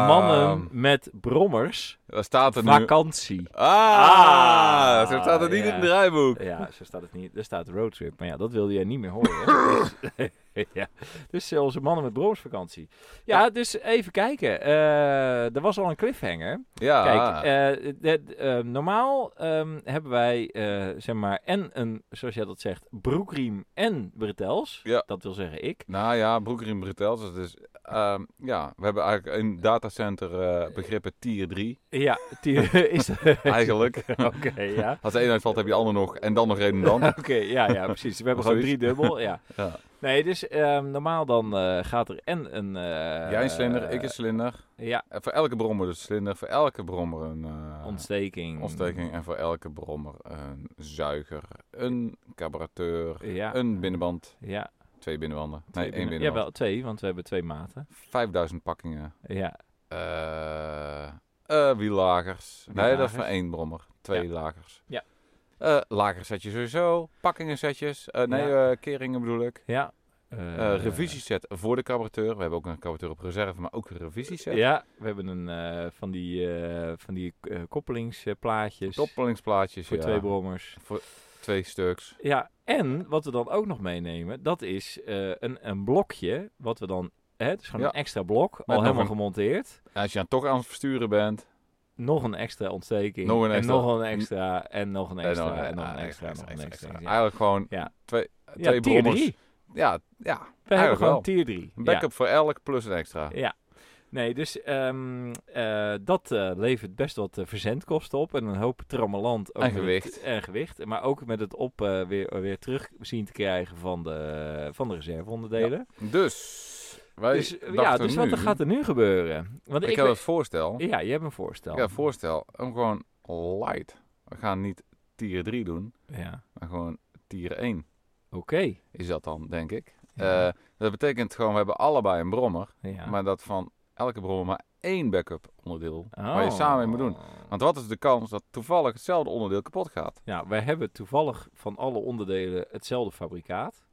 S1: mannen met brommers
S2: Waar staat er nu?
S1: vakantie?
S2: Ah, zo staat het niet
S1: ja.
S2: in het draaiboek.
S1: Ja, zo staat het niet. Er staat roadtrip, maar ja, dat wilde jij niet meer horen. Dus- ja. Dus eh, onze mannen met bromsvakantie. Ja, dus even kijken. Eh, er was al een cliffhanger.
S2: Ja,
S1: Kijk, eh, de- de- eh, normaal ehm, hebben wij, eh, zeg maar, en een, zoals jij dat zegt, broekriem en bretels.
S2: Ja.
S1: Dat wil zeggen ik.
S2: nou ja, Broekerin Bretels. Dat is, ehm, ja, we hebben eigenlijk in datacenter eh, begrippen tier 3,
S1: Ja, die is...
S2: eigenlijk.
S1: Oké, ja.
S2: Als de een uitvalt, heb je de ander nog. En dan nog redundant.
S1: Oké, ja, ja, precies. We hebben
S2: Of
S1: gewoon drie dubbel, ja.
S2: Ja.
S1: Nee, dus ehm, normaal dan eh, gaat er en een... eh,
S2: Jij een slinder, ik een slinder.
S1: Ja,
S2: En voor elke brommer dus slinder, voor elke brommer een eh,
S1: ontsteking.
S2: ontsteking en voor elke brommer een zuiger, een carburateur,
S1: Ja,
S2: een binnenband,
S1: ja.
S2: twee binnenbanden, nee
S1: twee
S2: één
S1: binnen-
S2: binnenband,
S1: Jawel, twee, want we hebben twee maten.
S2: 5000 pakkingen,
S1: Ja,
S2: eh eh, wiellagers, nee dat
S1: Wiellagers.
S2: is voor één brommer, twee lagers,
S1: Ja.
S2: Eh, lagers set je sowieso, pakkingen setjes, eh, nee
S1: Ja.
S2: eh, keringen bedoel ik,
S1: ja.
S2: Eh
S1: eh,
S2: revisieset voor de carburateur, we hebben ook een carburateur op reserve, maar ook een revisieset.
S1: Ja, we hebben een, eh, van die, eh, van die eh, koppelingsplaatjes
S2: Koppelingsplaatjes,
S1: voor
S2: Dus ja.
S1: twee brommers.
S2: Voor twee stuks.
S1: Ja, en wat we dan ook nog meenemen, dat is eh, een, een blokje, wat we dan... Hè, het is gewoon
S2: Ja.
S1: een extra blok, al
S2: nog
S1: helemaal
S2: een-
S1: gemonteerd.
S2: En als je dan toch aan het versturen bent,
S1: Nog een extra ontsteking.
S2: Nog een extra.
S1: En nog een extra. En nog een extra. En nog een
S2: eh,
S1: extra. En nog een extra. ja.
S2: Eigenlijk gewoon
S1: Ja.
S2: twee,
S1: Ja,
S2: Ah, twee
S1: tier
S2: brommers.
S1: 3.
S2: Ja, ja,
S1: We hebben
S2: Eigenlijk
S1: gewoon
S2: wel.
S1: tier 3.
S2: een backup voor elk plus een extra.
S1: Ja. Nee, dus ehm, eh, dat eh, levert best wat eh, verzendkosten op en een hoop trammeland. ook
S2: En
S1: met
S2: gewicht.
S1: het- en gewicht. Maar ook met het op eh, weer, weer terug zien te krijgen van de, van de reserveonderdelen.
S2: Dus, wij
S1: dus eh,
S2: dachten
S1: ja, dus
S2: nu,
S1: wat er gaat er nu gebeuren? Want
S2: Ik,
S1: ik,
S2: heb
S1: we-
S2: het voorstel.
S1: Ja, je hebt een voorstel.
S2: Ik heb het voorstel om gewoon light. We gaan niet tier 3 doen,
S1: Ja.
S2: maar gewoon tier 1
S1: Oké.
S2: is dat dan, denk ik.
S1: Ja.
S2: Eh, dat betekent gewoon, we hebben allebei een brommer,
S1: Ja.
S2: Eh, maar dat van elke brommer maar één backup onderdeel waar je
S1: Oh.
S2: samen mee moet doen. Want wat is de kans dat toevallig hetzelfde onderdeel kapot gaat?
S1: Ja, wij hebben toevallig van alle onderdelen hetzelfde fabrikaat.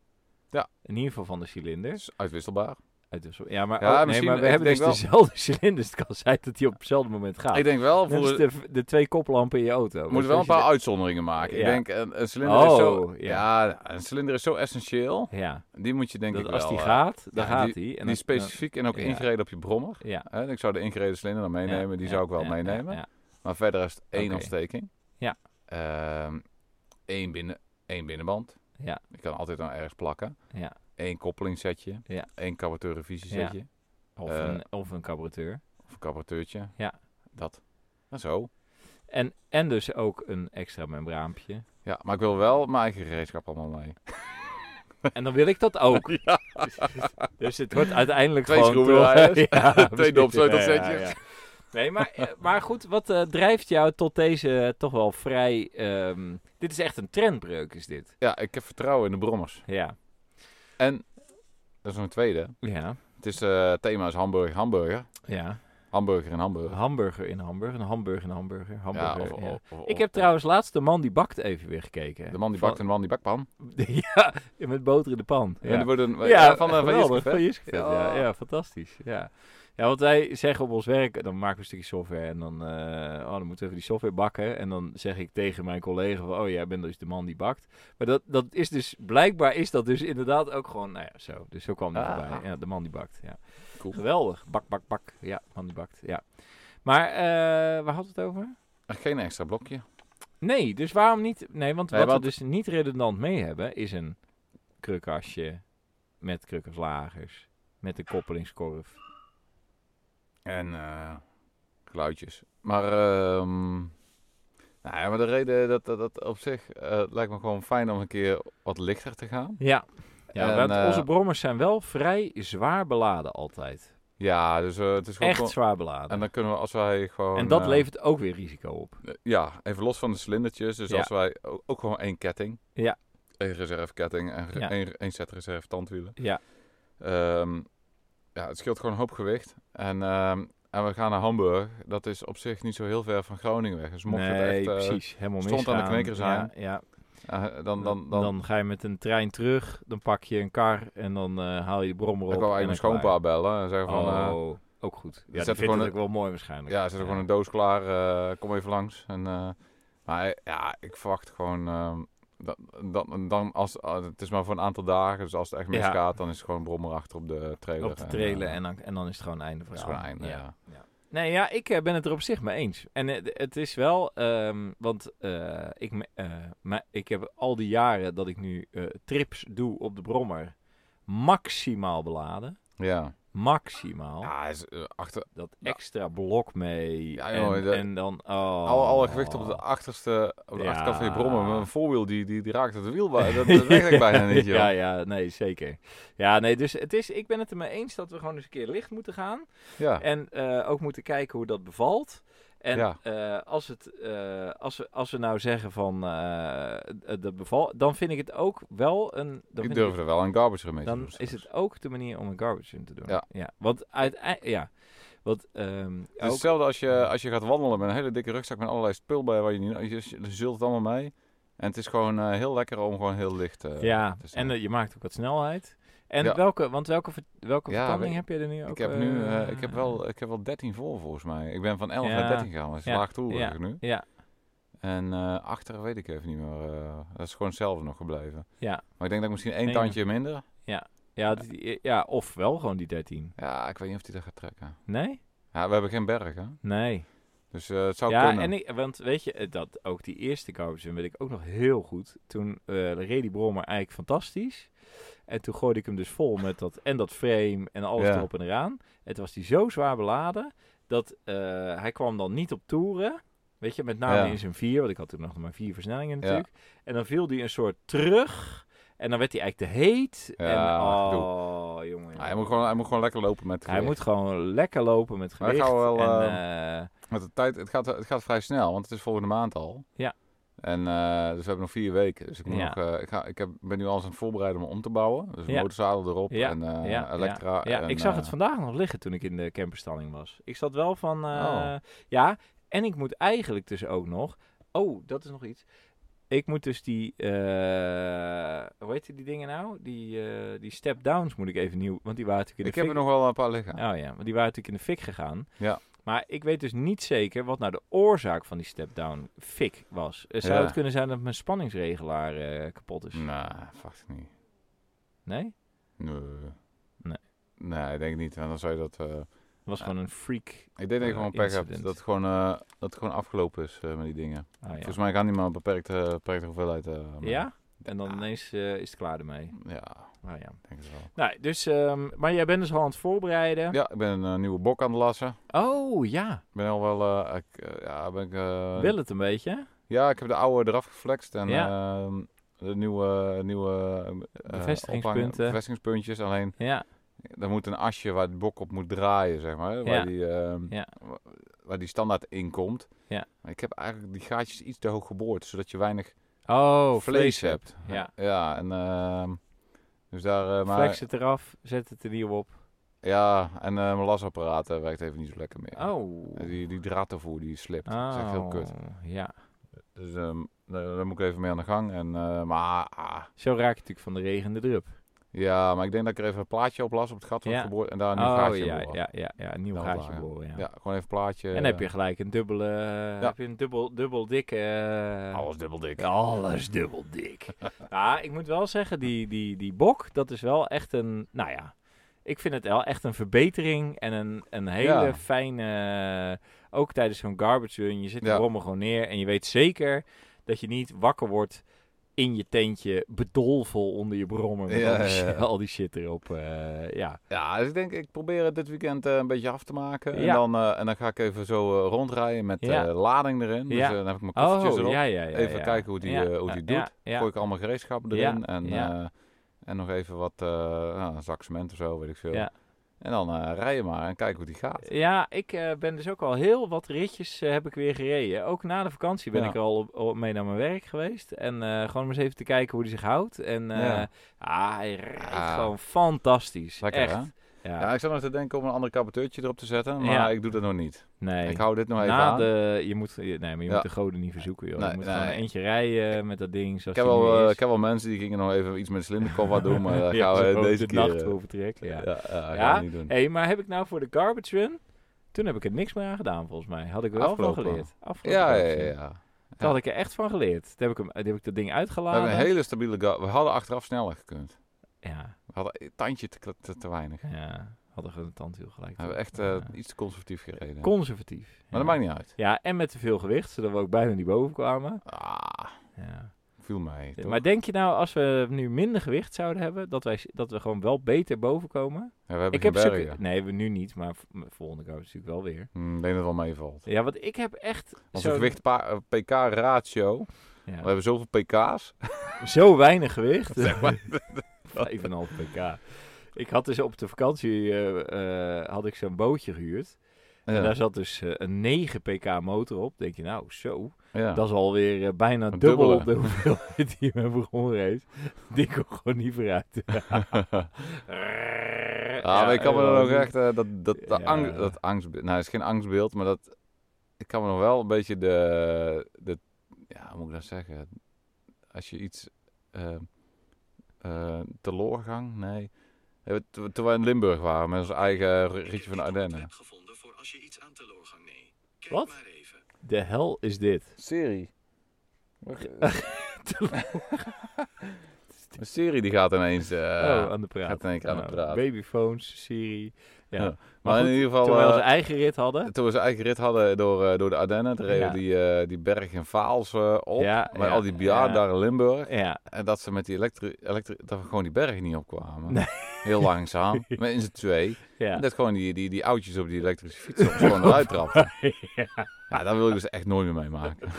S2: Ja.
S1: In ieder geval van de
S2: Dat
S1: cilinders.
S2: is uitwisselbaar.
S1: Uit de zo- Ja, maar,
S2: Ja,
S1: oh, nee,
S2: misschien-
S1: maar we
S2: ik
S1: hebben
S2: denk
S1: dus dezelfde cilinders. Het kan zijn dat die op hetzelfde moment gaat.
S2: Ik denk wel,
S1: Net
S2: voor,
S1: als de, de twee koplampen in je auto.
S2: we moeten wel een paar uitzonderingen maken. Ik
S1: Ja.
S2: denk, een, een cilinder is
S1: Oh,
S2: zo...
S1: ja.
S2: Ja. een cilinder is zo essentieel.
S1: Ja,
S2: Die moet je denk
S1: dat
S2: ik
S1: als
S2: wel...
S1: die
S2: eh,
S1: gaat, dan
S2: ja,
S1: gaat die. en
S2: die is
S1: dan-
S2: specifiek en ook
S1: ja.
S2: ingereden op je brommer.
S1: dan- ja.
S2: Hè, ik zou de ingereden cilinder dan meenemen.
S1: ja,
S2: die
S1: ja,
S2: zou ik wel
S1: ja,
S2: meenemen.
S1: ja,
S2: Maar verder is het één
S1: Oké.
S2: ontsteking.
S1: Ja.
S2: Ehm, één, binnen, één binnenband.
S1: Ja.
S2: Je kan altijd aan ergens plakken.
S1: Ja.
S2: Eén koppelingssetje.
S1: Ja.
S2: Eén carburateur revisiesetje.
S1: ja. Of,
S2: Eh,
S1: een, of een carburateur.
S2: Of een carburateurtje.
S1: Ja.
S2: Dat. En zo.
S1: En, en dus ook een extra membraampje.
S2: Ja, maar ik wil wel mijn eigen gereedschap allemaal mee.
S1: En dan wil ik dat ook. Dus het wordt uiteindelijk
S2: Twee
S1: gewoon...
S2: schroevendraaiers,
S1: Ja, precies.
S2: dopsleutelzetjes.
S1: Nee, maar, eh, maar goed, wat eh, drijft jou tot deze eh, toch wel vrij... ehm, dit is echt een trendbreuk, is dit.
S2: Ja, ik heb vertrouwen in de brommers.
S1: Ja.
S2: En, dat is nog een tweede.
S1: Ja.
S2: Het is, eh, het thema is hamburger, hamburger.
S1: Ja.
S2: Hamburger en hamburger.
S1: Hamburger in hamburger, een hamburger in hamburger. hamburger
S2: of-
S1: ja.
S2: of- of-
S1: Ik heb trouwens laatst de man die bakt even weer gekeken.
S2: De man die bakt en de man die bakpan.
S1: Van- ja, met boter in de pan.
S2: En er
S1: Ja,
S2: worden, ja, van, eh, van
S1: geweldig,
S2: Jiske Vet.
S1: van Jiskevet, ja.
S2: Ja.
S1: ja, fantastisch. Ja. ja, want wij zeggen op ons werk, dan maken we een stukje software en dan, eh, oh, dan moeten we even die software bakken. En dan zeg ik tegen mijn collega, van, oh jij bent dus de man die bakt. Maar dat, dat is dus, blijkbaar is dat dus inderdaad ook gewoon, nou ja, zo. Dus zo kwam die
S2: Ah.
S1: voorbij. Ja, de man die bakt, ja.
S2: Cool.
S1: Geweldig. Bak, bak, bak. Ja, man die bakt, ja. Maar eh, waar had het over?
S2: Eh, Geen extra blokje.
S1: Nee, dus waarom niet? Nee, want
S2: Nee,
S1: wat
S2: want-
S1: we dus niet redundant mee hebben is een krukkasje met krukkenslagers, met een koppelingskorf.
S2: En eh, geluidjes. Maar, ehm, nou ja, maar de reden dat dat, dat op zich eh, het lijkt me gewoon fijn om een keer wat lichter te gaan.
S1: Ja, ja
S2: En,
S1: want
S2: eh,
S1: onze brommers zijn wel vrij zwaar beladen altijd.
S2: Ja, dus eh, het is gewoon...
S1: Echt zwaar beladen.
S2: en
S1: En,
S2: dan kunnen we als wij gewoon...
S1: dat
S2: eh,
S1: levert ook weer risico op.
S2: Eh, Ja, even los van de cilindertjes. Dus
S1: Ja.
S2: als wij o- ook gewoon één ketting.
S1: Ja.
S2: Eén reserveketting en re-
S1: Ja.
S2: één, één set reserve tandwielen.
S1: Ja.
S2: Ehm, ja, het scheelt gewoon een hoop gewicht. En, ehm, en we gaan naar Hamburg. Dat is op zich niet zo heel ver van Groningen weg. Dus mocht
S1: nee,
S2: het echt... eh,
S1: precies. Helemaal
S2: stond aan de
S1: misgaan.
S2: knikker zijn,
S1: Ja, ja.
S2: eh, dan, dan,
S1: Dan,
S2: dan,
S1: ga je met een trein terug, dan pak je een kar en dan eh, haal je de brommer op.
S2: ik wou
S1: en dan
S2: eigenlijk mijn
S1: klaar.
S2: schoonpa bellen. En zeggen van... eh,
S1: Oh, ook goed. Ja, dat
S2: zet er
S1: vindt
S2: gewoon
S1: het
S2: een-
S1: ook wel mooi waarschijnlijk.
S2: ja, er zit er gewoon een doos klaar. eh, kom even langs. En, eh, maar ja, ik verwacht gewoon... ehm, Dan, dan, dan als, ah, het is maar voor een aantal dagen, dus als het echt
S1: Ja.
S2: misgaat, dan is het gewoon brommer achter op de trailer.
S1: op de
S2: en,
S1: trailer
S2: eh,
S1: en dan, en dan is het gewoon einde
S2: dat is
S1: verhaal.
S2: gewoon einde,
S1: Ja.
S2: ja.
S1: Nee, ja, ik eh, ben het er op zich mee eens. En eh, het is wel, ehm, want eh, ik, me- eh, maar ik heb al die jaren dat ik nu eh, trips doe op de Brommer maximaal beladen.
S2: Ja,
S1: Maximaal.
S2: ja is, eh, achter,
S1: Dat
S2: Ja.
S1: extra blok mee.
S2: Ja,
S1: en,
S2: jongen, dat-
S1: en dan. Oh.
S2: alle, alle gewicht op de achterste, op de
S1: Ja.
S2: achterkant van je brommer. Met een voorwiel, die, die, die raakt het wiel, bij- dat, dat werkt bijna niet, joh.
S1: Ja, ja, nee, zeker. Ja, nee, dus het is, ik ben het er mee eens dat we gewoon eens een keer licht moeten gaan.
S2: Ja.
S1: En eh, ook moeten kijken hoe dat bevalt. En
S2: Ja.
S1: eh, als, het, eh, als, we, als we nou zeggen van eh, eh, dat bevalt, dan vind ik het ook wel een. Dan,
S2: ik
S1: vind
S2: durf
S1: ik-
S2: er wel een garbage mee te
S1: dan
S2: doen
S1: is
S2: straks.
S1: het ook de manier om een garbage in te doen.
S2: Ja.
S1: want uiteindelijk. Ja. Want, ehm,
S2: Het is
S1: ook-
S2: hetzelfde als je, als je gaat wandelen met een hele dikke rugzak met allerlei spul bij waar je niet... Je, je zult het allemaal mee. En het is gewoon eh, heel lekker om gewoon heel licht... eh,
S1: ja,
S2: te zijn.
S1: en eh, je maakt ook wat snelheid. En
S2: Ja.
S1: welke, want welke, ver- welke
S2: Ja,
S1: vertanding
S2: we-
S1: heb je er nu ook?
S2: Ik heb nu, eh,
S1: eh,
S2: ik, heb wel, ik heb wel 13 vol volgens mij. Ik ben van 11
S1: Ja.
S2: naar 13 gegaan, dat is
S1: Ja.
S2: laag toe
S1: Ja.
S2: eigenlijk nu.
S1: Ja,
S2: En eh, achter weet ik even niet meer. eh, dat is gewoon hetzelfde nog gebleven.
S1: Ja.
S2: Maar ik denk dat ik misschien één
S1: Eén.
S2: tandje minder.
S1: ja, die- ja, of wel gewoon die 13.
S2: Ja, ik weet niet of die dat gaat trekken.
S1: Nee?
S2: Ja, we hebben geen berg, hè?
S1: Nee.
S2: Dus eh, het zou
S1: ja,
S2: kunnen.
S1: en ik, want weet je, eh, dat ook die eerste garbage bin weet ik ook nog heel goed. Toen eh reed die brommer eigenlijk fantastisch. En toen gooide ik hem dus vol met dat en dat frame en alles
S2: Ja.
S1: erop en eraan. Het was die zo zwaar beladen dat eh, hij kwam dan niet op toeren. Weet je, met name
S2: Ja.
S1: in zijn vier, want ik had toen nog maar vier versnellingen
S2: Ja.
S1: natuurlijk. En dan viel die een soort terug. En dan werd hij eigenlijk te heet. en,
S2: Ja, gedoe.
S1: oh, jongen.
S2: Ja, hij, moet gewoon, hij moet gewoon lekker lopen met het
S1: hij
S2: gewicht.
S1: moet gewoon lekker lopen met
S2: Maar ik
S1: gewicht.
S2: hou wel,
S1: en, eh,
S2: Want de tijd, het, gaat, het gaat vrij snel, want het is volgende maand al.
S1: Ja.
S2: En eh, dus we hebben nog vier weken. Dus ik, moet
S1: Ja.
S2: nog, eh, ik, ga, ik heb, ben nu alles aan het voorbereiden om om te bouwen. Dus
S1: Ja.
S2: motorzadel erop
S1: Ja,
S2: en eh,
S1: ja,
S2: elektra.
S1: Ja,
S2: en,
S1: ik zag
S2: eh,
S1: het vandaag nog liggen toen ik in de camperstalling was. Ik zat wel van, eh,
S2: Oh.
S1: ja, en ik moet eigenlijk dus ook nog, oh, dat is nog iets. Ik moet dus die, eh, hoe heet die dingen nou? Die, eh, die step-downs moet ik even nieuw, want die waren natuurlijk in
S2: Ik
S1: de
S2: heb er nog wel een paar liggen.
S1: Oh ja, want die waren natuurlijk in de fik gegaan.
S2: Ja.
S1: Maar ik weet dus niet zeker wat nou de oorzaak van die step-down fik was. Eh, Zou
S2: Ja. Mm.
S1: het kunnen zijn dat mijn spanningsregelaar eh, kapot is?
S2: Nee, fuck het niet.
S1: Nee?
S2: Nee.
S1: Nee.
S2: Nee, ik denk niet. Want dan zou je dat... eh,
S1: Het was gewoon een freak.
S2: ik denk dat
S1: Eh,
S2: je gewoon pech hebt.
S1: incident.
S2: Dat het gewoon, eh, dat het gewoon afgelopen is eh, met die dingen.
S1: Oh, ja.
S2: Volgens mij gaan die maar een beperkte, beperkte hoeveelheid. eh, maken.
S1: ja? En dan
S2: Ja.
S1: ineens eh, is het klaar ermee.
S2: Ja,
S1: Nou ja.
S2: ik denk het wel.
S1: Nou, dus, ehm, maar jij bent dus al aan het voorbereiden.
S2: Ja, ik ben een eh, nieuwe bok aan het lassen.
S1: Oh ja,
S2: Ik ben al wel... eh, ik, eh, ja, ben ik, eh,
S1: wil het een beetje?
S2: Ja, ik heb de oude eraf geflext en
S1: Ja.
S2: ehm, de nieuwe, nieuwe eh,
S1: Bevestigingspunten.
S2: ophangen- bevestigingspuntjes. Alleen,
S1: Ja,
S2: er moet een asje waar de bok op moet draaien, zeg maar.
S1: Ja.
S2: Waar, die, ehm,
S1: Ja.
S2: wa- waar die standaard in komt.
S1: Ja.
S2: Maar ik heb eigenlijk die gaatjes iets te hoog geboord, zodat je weinig
S1: oh,
S2: vlees,
S1: flexen.
S2: hebt.
S1: Ja.
S2: Ja, en... ehm, dus daar, eh, maar,
S1: Flex het eraf, zet het er nieuw op.
S2: Ja, en eh, mijn lasapparaat eh, werkt even niet zo lekker meer.
S1: Oh.
S2: Eh, Die, die draadtoevoer die slipt. Dat is echt heel
S1: Oh,
S2: kut.
S1: Ja,
S2: Dus ehm, daar, daar moet ik even mee aan de gang. En, eh, maar, ah,
S1: zo raak je natuurlijk van de regen de drup.
S2: ja, maar ik denk dat ik er even een plaatje op las op het gat van
S1: Ja.
S2: het geboord en daar een nieuw
S1: Oh
S2: gaatje
S1: ja,
S2: op.
S1: ja, ja, ja, een nieuw
S2: Dan
S1: gaatje
S2: lager.
S1: boren. Ja.
S2: Ja, eh, gewoon even een plaatje.
S1: En dan heb je gelijk een dubbele, heb je een dubbel, dubbel dikke... eh,
S2: Alles dubbel dik.
S1: Alles dubbel dik. nou, ik moet wel zeggen, die, die, die bok, dat is wel echt een... Nou ja, ik vind het wel echt een verbetering en een, een hele
S2: Ja.
S1: fijne... Ook tijdens zo'n garbage run, je zit de
S2: Ja.
S1: brommer gewoon neer en je weet zeker dat je niet wakker wordt in je tentje, bedolven onder je brommer met
S2: Ja,
S1: al, die,
S2: ja, ja.
S1: al die shit erop. eh, ja.
S2: Ja, dus ik denk, ik probeer het dit weekend eh, een beetje af te maken.
S1: Ja.
S2: En, dan, eh, en dan ga ik even zo eh, rondrijden met
S1: Ja.
S2: eh, lading erin. Dus
S1: Ja.
S2: eh, dan heb ik mijn koffertjes
S1: Oh,
S2: erop.
S1: ja, ja, ja.
S2: even
S1: ja.
S2: kijken hoe die,
S1: Ja,
S2: eh, hoe die
S1: ja,
S2: doet.
S1: ja.
S2: gooi ik allemaal gereedschappen
S1: Ja,
S2: erin. En,
S1: ja.
S2: eh, en nog even wat eh nou, een zak cement of zo, weet ik veel.
S1: Ja.
S2: En dan eh rij je maar en kijk hoe die gaat.
S1: Ja, ik eh, ben dus ook al heel wat ritjes eh, heb ik weer gereden. Ook na de vakantie ben
S2: Ja.
S1: ik er al op, op- mee naar mijn werk geweest. En eh, gewoon om eens even te kijken hoe hij zich houdt. En eh,
S2: Ja.
S1: ah, hij rijdt
S2: Ja.
S1: gewoon fantastisch.
S2: Lekker,
S1: Echt.
S2: hè?
S1: Ja.
S2: Ja, ik zat nog te denken om een ander caboteurtje erop te zetten, maar
S1: Ja.
S2: ik doe dat nog niet.
S1: Nee.
S2: Ik hou dit nog even
S1: na
S2: aan.
S1: de, je moet, nee, maar je
S2: Ja.
S1: moet de goden niet verzoeken, joh. je
S2: Nee,
S1: moet
S2: nee.
S1: gewoon eentje rijden met dat ding
S2: Ik
S1: zoals
S2: heb,
S1: die nu
S2: wel, eh,
S1: is.
S2: ik heb wel mensen die gingen nog even iets met een slinderkoffer doen, maar dat
S1: Ja,
S2: gaan we
S1: zo de
S2: deze keer...
S1: nacht
S2: eh,
S1: voor vertrek,
S2: ja,
S1: ja.
S2: ja, eh, gaan
S1: Ja?
S2: we niet doen.
S1: Hé, hey, maar heb ik nou voor de garbage run... Toen heb ik er niks meer aan gedaan, volgens mij. Had ik er wel
S2: Afgelopen.
S1: van geleerd. Afgelopen
S2: Ja, ja,
S1: garbage
S2: ja,
S1: run.
S2: ja.
S1: Dat had ik er echt van geleerd. Toen heb ik, hem, toen heb ik dat ding
S2: We
S1: uitgeladen.
S2: hebben een hele stabiele guard. We hadden achteraf sneller gekund.
S1: Ja,
S2: We hadden een tandje te, kle- te, te weinig. We
S1: ja. Hadden we een tandwiel gelijk.
S2: hebben echt eh,
S1: Ja.
S2: iets te conservatief gereden.
S1: Conservatief.
S2: maar dat maakt niet uit.
S1: Ja, en met te veel gewicht, zodat we ook bijna niet boven kwamen.
S2: Ah,
S1: Ja.
S2: viel mij. toch?
S1: Maar denk je nou, als we nu minder gewicht zouden hebben, dat, wij, dat we gewoon wel beter boven komen?
S2: Ja, we hebben
S1: Ik
S2: geen
S1: heb zulke-
S2: bergen.
S1: Nee, we nu niet, maar v- volgende keer natuurlijk wel weer.
S2: Hm, ik denk dat het wel meevalt.
S1: Ja, want ik heb echt
S2: Onze
S1: zo,
S2: eh, gewicht-pk-ratio.
S1: ja,
S2: We hebben zoveel pk's.
S1: zo weinig gewicht.
S2: Zeg maar.
S1: 5,5 pk. Ik had dus op de vakantie eh, eh, had ik zo'n bootje gehuurd. En daar
S2: Ja.
S1: zat dus eh, een 9 pk motor op. Denk je, nou zo,
S2: Ja.
S1: Dat is alweer eh, bijna
S2: Een
S1: dubbel
S2: dubbele.
S1: de hoeveelheid die we begonnen heeft. Die kon gewoon niet vooruit.
S2: Ah, maar ik kan me dan ook echt eh, dat, dat, de
S1: Ja.
S2: angst, dat angstbeeld. Nou, het is geen angstbeeld, maar dat ik kan me nog wel een beetje de, de ja, hoe moet ik dat zeggen? Als je iets eh eh teloorgang, nee. Eh, to- Toen we in Limburg waren met ons eigen ritje van de Ardennen.
S3: heb gevonden voor als je iets aan teloorgang nee. Kijk
S1: Wat?
S3: maar even.
S1: De hel is dit.
S2: Serie. Een serie die gaat ineens. eh,
S1: oh, aan de praat.
S2: gaat in één keer aan de
S1: Nou,
S2: praat.
S1: Babyphones, Siri. Ja.
S2: Ja,
S1: Maar,
S2: maar
S1: goed,
S2: in ieder geval.
S1: toen wij
S2: eh,
S1: onze eigen rit hadden.
S2: Toen we zijn eigen rit hadden door, eh, door de Ardennen, toen reden
S1: Ja.
S2: we die, eh, die berg in Vaals eh, op.
S1: Ja,
S2: met
S1: ja,
S2: al die bejaarden
S1: ja.
S2: daar in Limburg.
S1: Ja,
S2: En dat ze met die elektri... elektri dat we gewoon die berg niet opkwamen.
S1: Nee.
S2: Heel langzaam. Met in z'n twee.
S1: ja.
S2: En dat gewoon die, die, die oudjes op die elektrische fietsen op gewoon eruit trapten. Ja, daar wil ik dus echt nooit meer mee maken.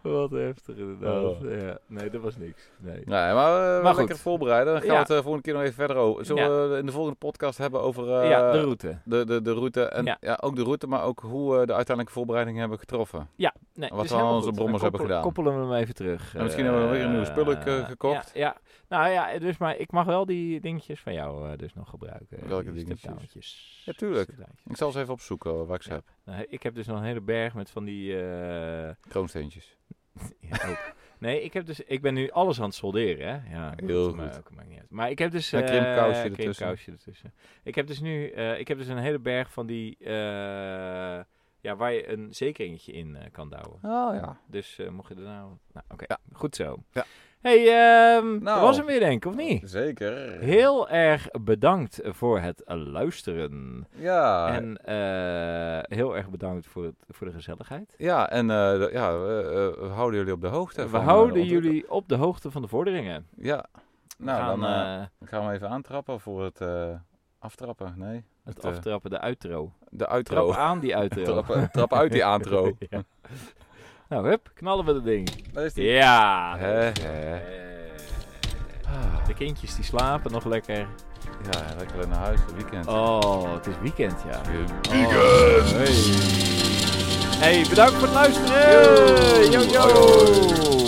S1: Wat heftig inderdaad.
S2: Oh.
S1: Ja. Nee, dat was niks. Nee.
S2: Nee, maar eh,
S1: Maar
S2: lekker
S1: goed.
S2: voorbereiden. Dan gaan
S1: Ja.
S2: we het eh, volgende keer nog even verder over. Zullen we in de volgende podcast hebben over eh,
S1: ja, de
S2: de...
S1: route.
S2: De, de, route. En
S1: Ja.
S2: ja. ook de route, maar ook hoe we de uiteindelijke voorbereidingen hebben getroffen.
S1: Nee,
S2: Wat
S1: dus
S2: we
S1: helemaal
S2: aan onze
S1: goed.
S2: brommers
S1: Dan
S2: hebben gedaan.
S1: Koppelen we hem even terug.
S2: En misschien hebben we weer een nieuwe spullen, eh,
S1: eh,
S2: gekocht.
S1: Ja, ja. nou ja, dus, maar ik mag wel die dingetjes van jou eh, dus nog gebruiken.
S2: Welke
S1: Die
S2: dingetjes?
S1: stepdowntjes.
S2: Ja, tuurlijk.
S1: Stepdowntjes.
S2: Ik zal ze even opzoeken eh, waar ik ze
S1: Ja.
S2: heb.
S1: Nou, ik heb dus nog een hele berg met van die... eh,
S2: Kroonsteentjes.
S1: ja, ook. Nee, ik, heb dus, ik ben nu alles aan het solderen. Hè? Ja,
S2: Heel
S1: dat maakt- maakt niet uit. Maar ik heb dus...
S2: Een
S1: eh,
S2: krimpkousje
S1: een
S2: ertussen.
S1: krimpkousje ertussen. Ik heb dus nu eh, ik heb dus een hele berg van die... eh, ja, waar je een zekeringetje in eh, kan douwen.
S2: Oh ja.
S1: Dus eh, mocht je er nou... Nou, oké.
S2: Ja.
S1: Goed zo.
S2: Ja.
S1: hey, ehm,
S2: Nou.
S1: dat was hem weer denk ik, of niet?
S2: Zeker.
S1: Heel erg bedankt voor het luisteren.
S2: Ja.
S1: En
S2: En,
S1: eh, heel erg bedankt voor, het, voor de gezelligheid.
S2: ja, en eh, d- ja, we, eh, we houden jullie op de hoogte.
S1: We
S2: van, eh,
S1: houden
S2: ontwik-
S1: jullie op de hoogte van de vorderingen.
S2: Ja.
S1: We
S2: Nou,
S1: gaan,
S2: dan eh,
S1: eh,
S2: gaan we even aantrappen voor het eh, aftrappen. Nee,
S1: het
S2: het, eh,
S1: aftrappen, de uitro.
S2: de
S1: Trap
S2: uitro.
S1: aan die uitro.
S2: Trappen, trap uit die aantro.
S1: Ja. Nou, hup, knallen we dat ding.
S2: Dat is die.
S1: Ja.
S2: Hè, hè.
S1: Eh,
S2: Ah,
S1: De kindjes die slapen nog lekker.
S2: Ja, lekker naar huis, het weekend.
S1: Oh, het is weekend, ja.
S2: Weekend!
S1: Hey, bedankt voor het luisteren. Yo, yo.
S2: Hoi, hoi.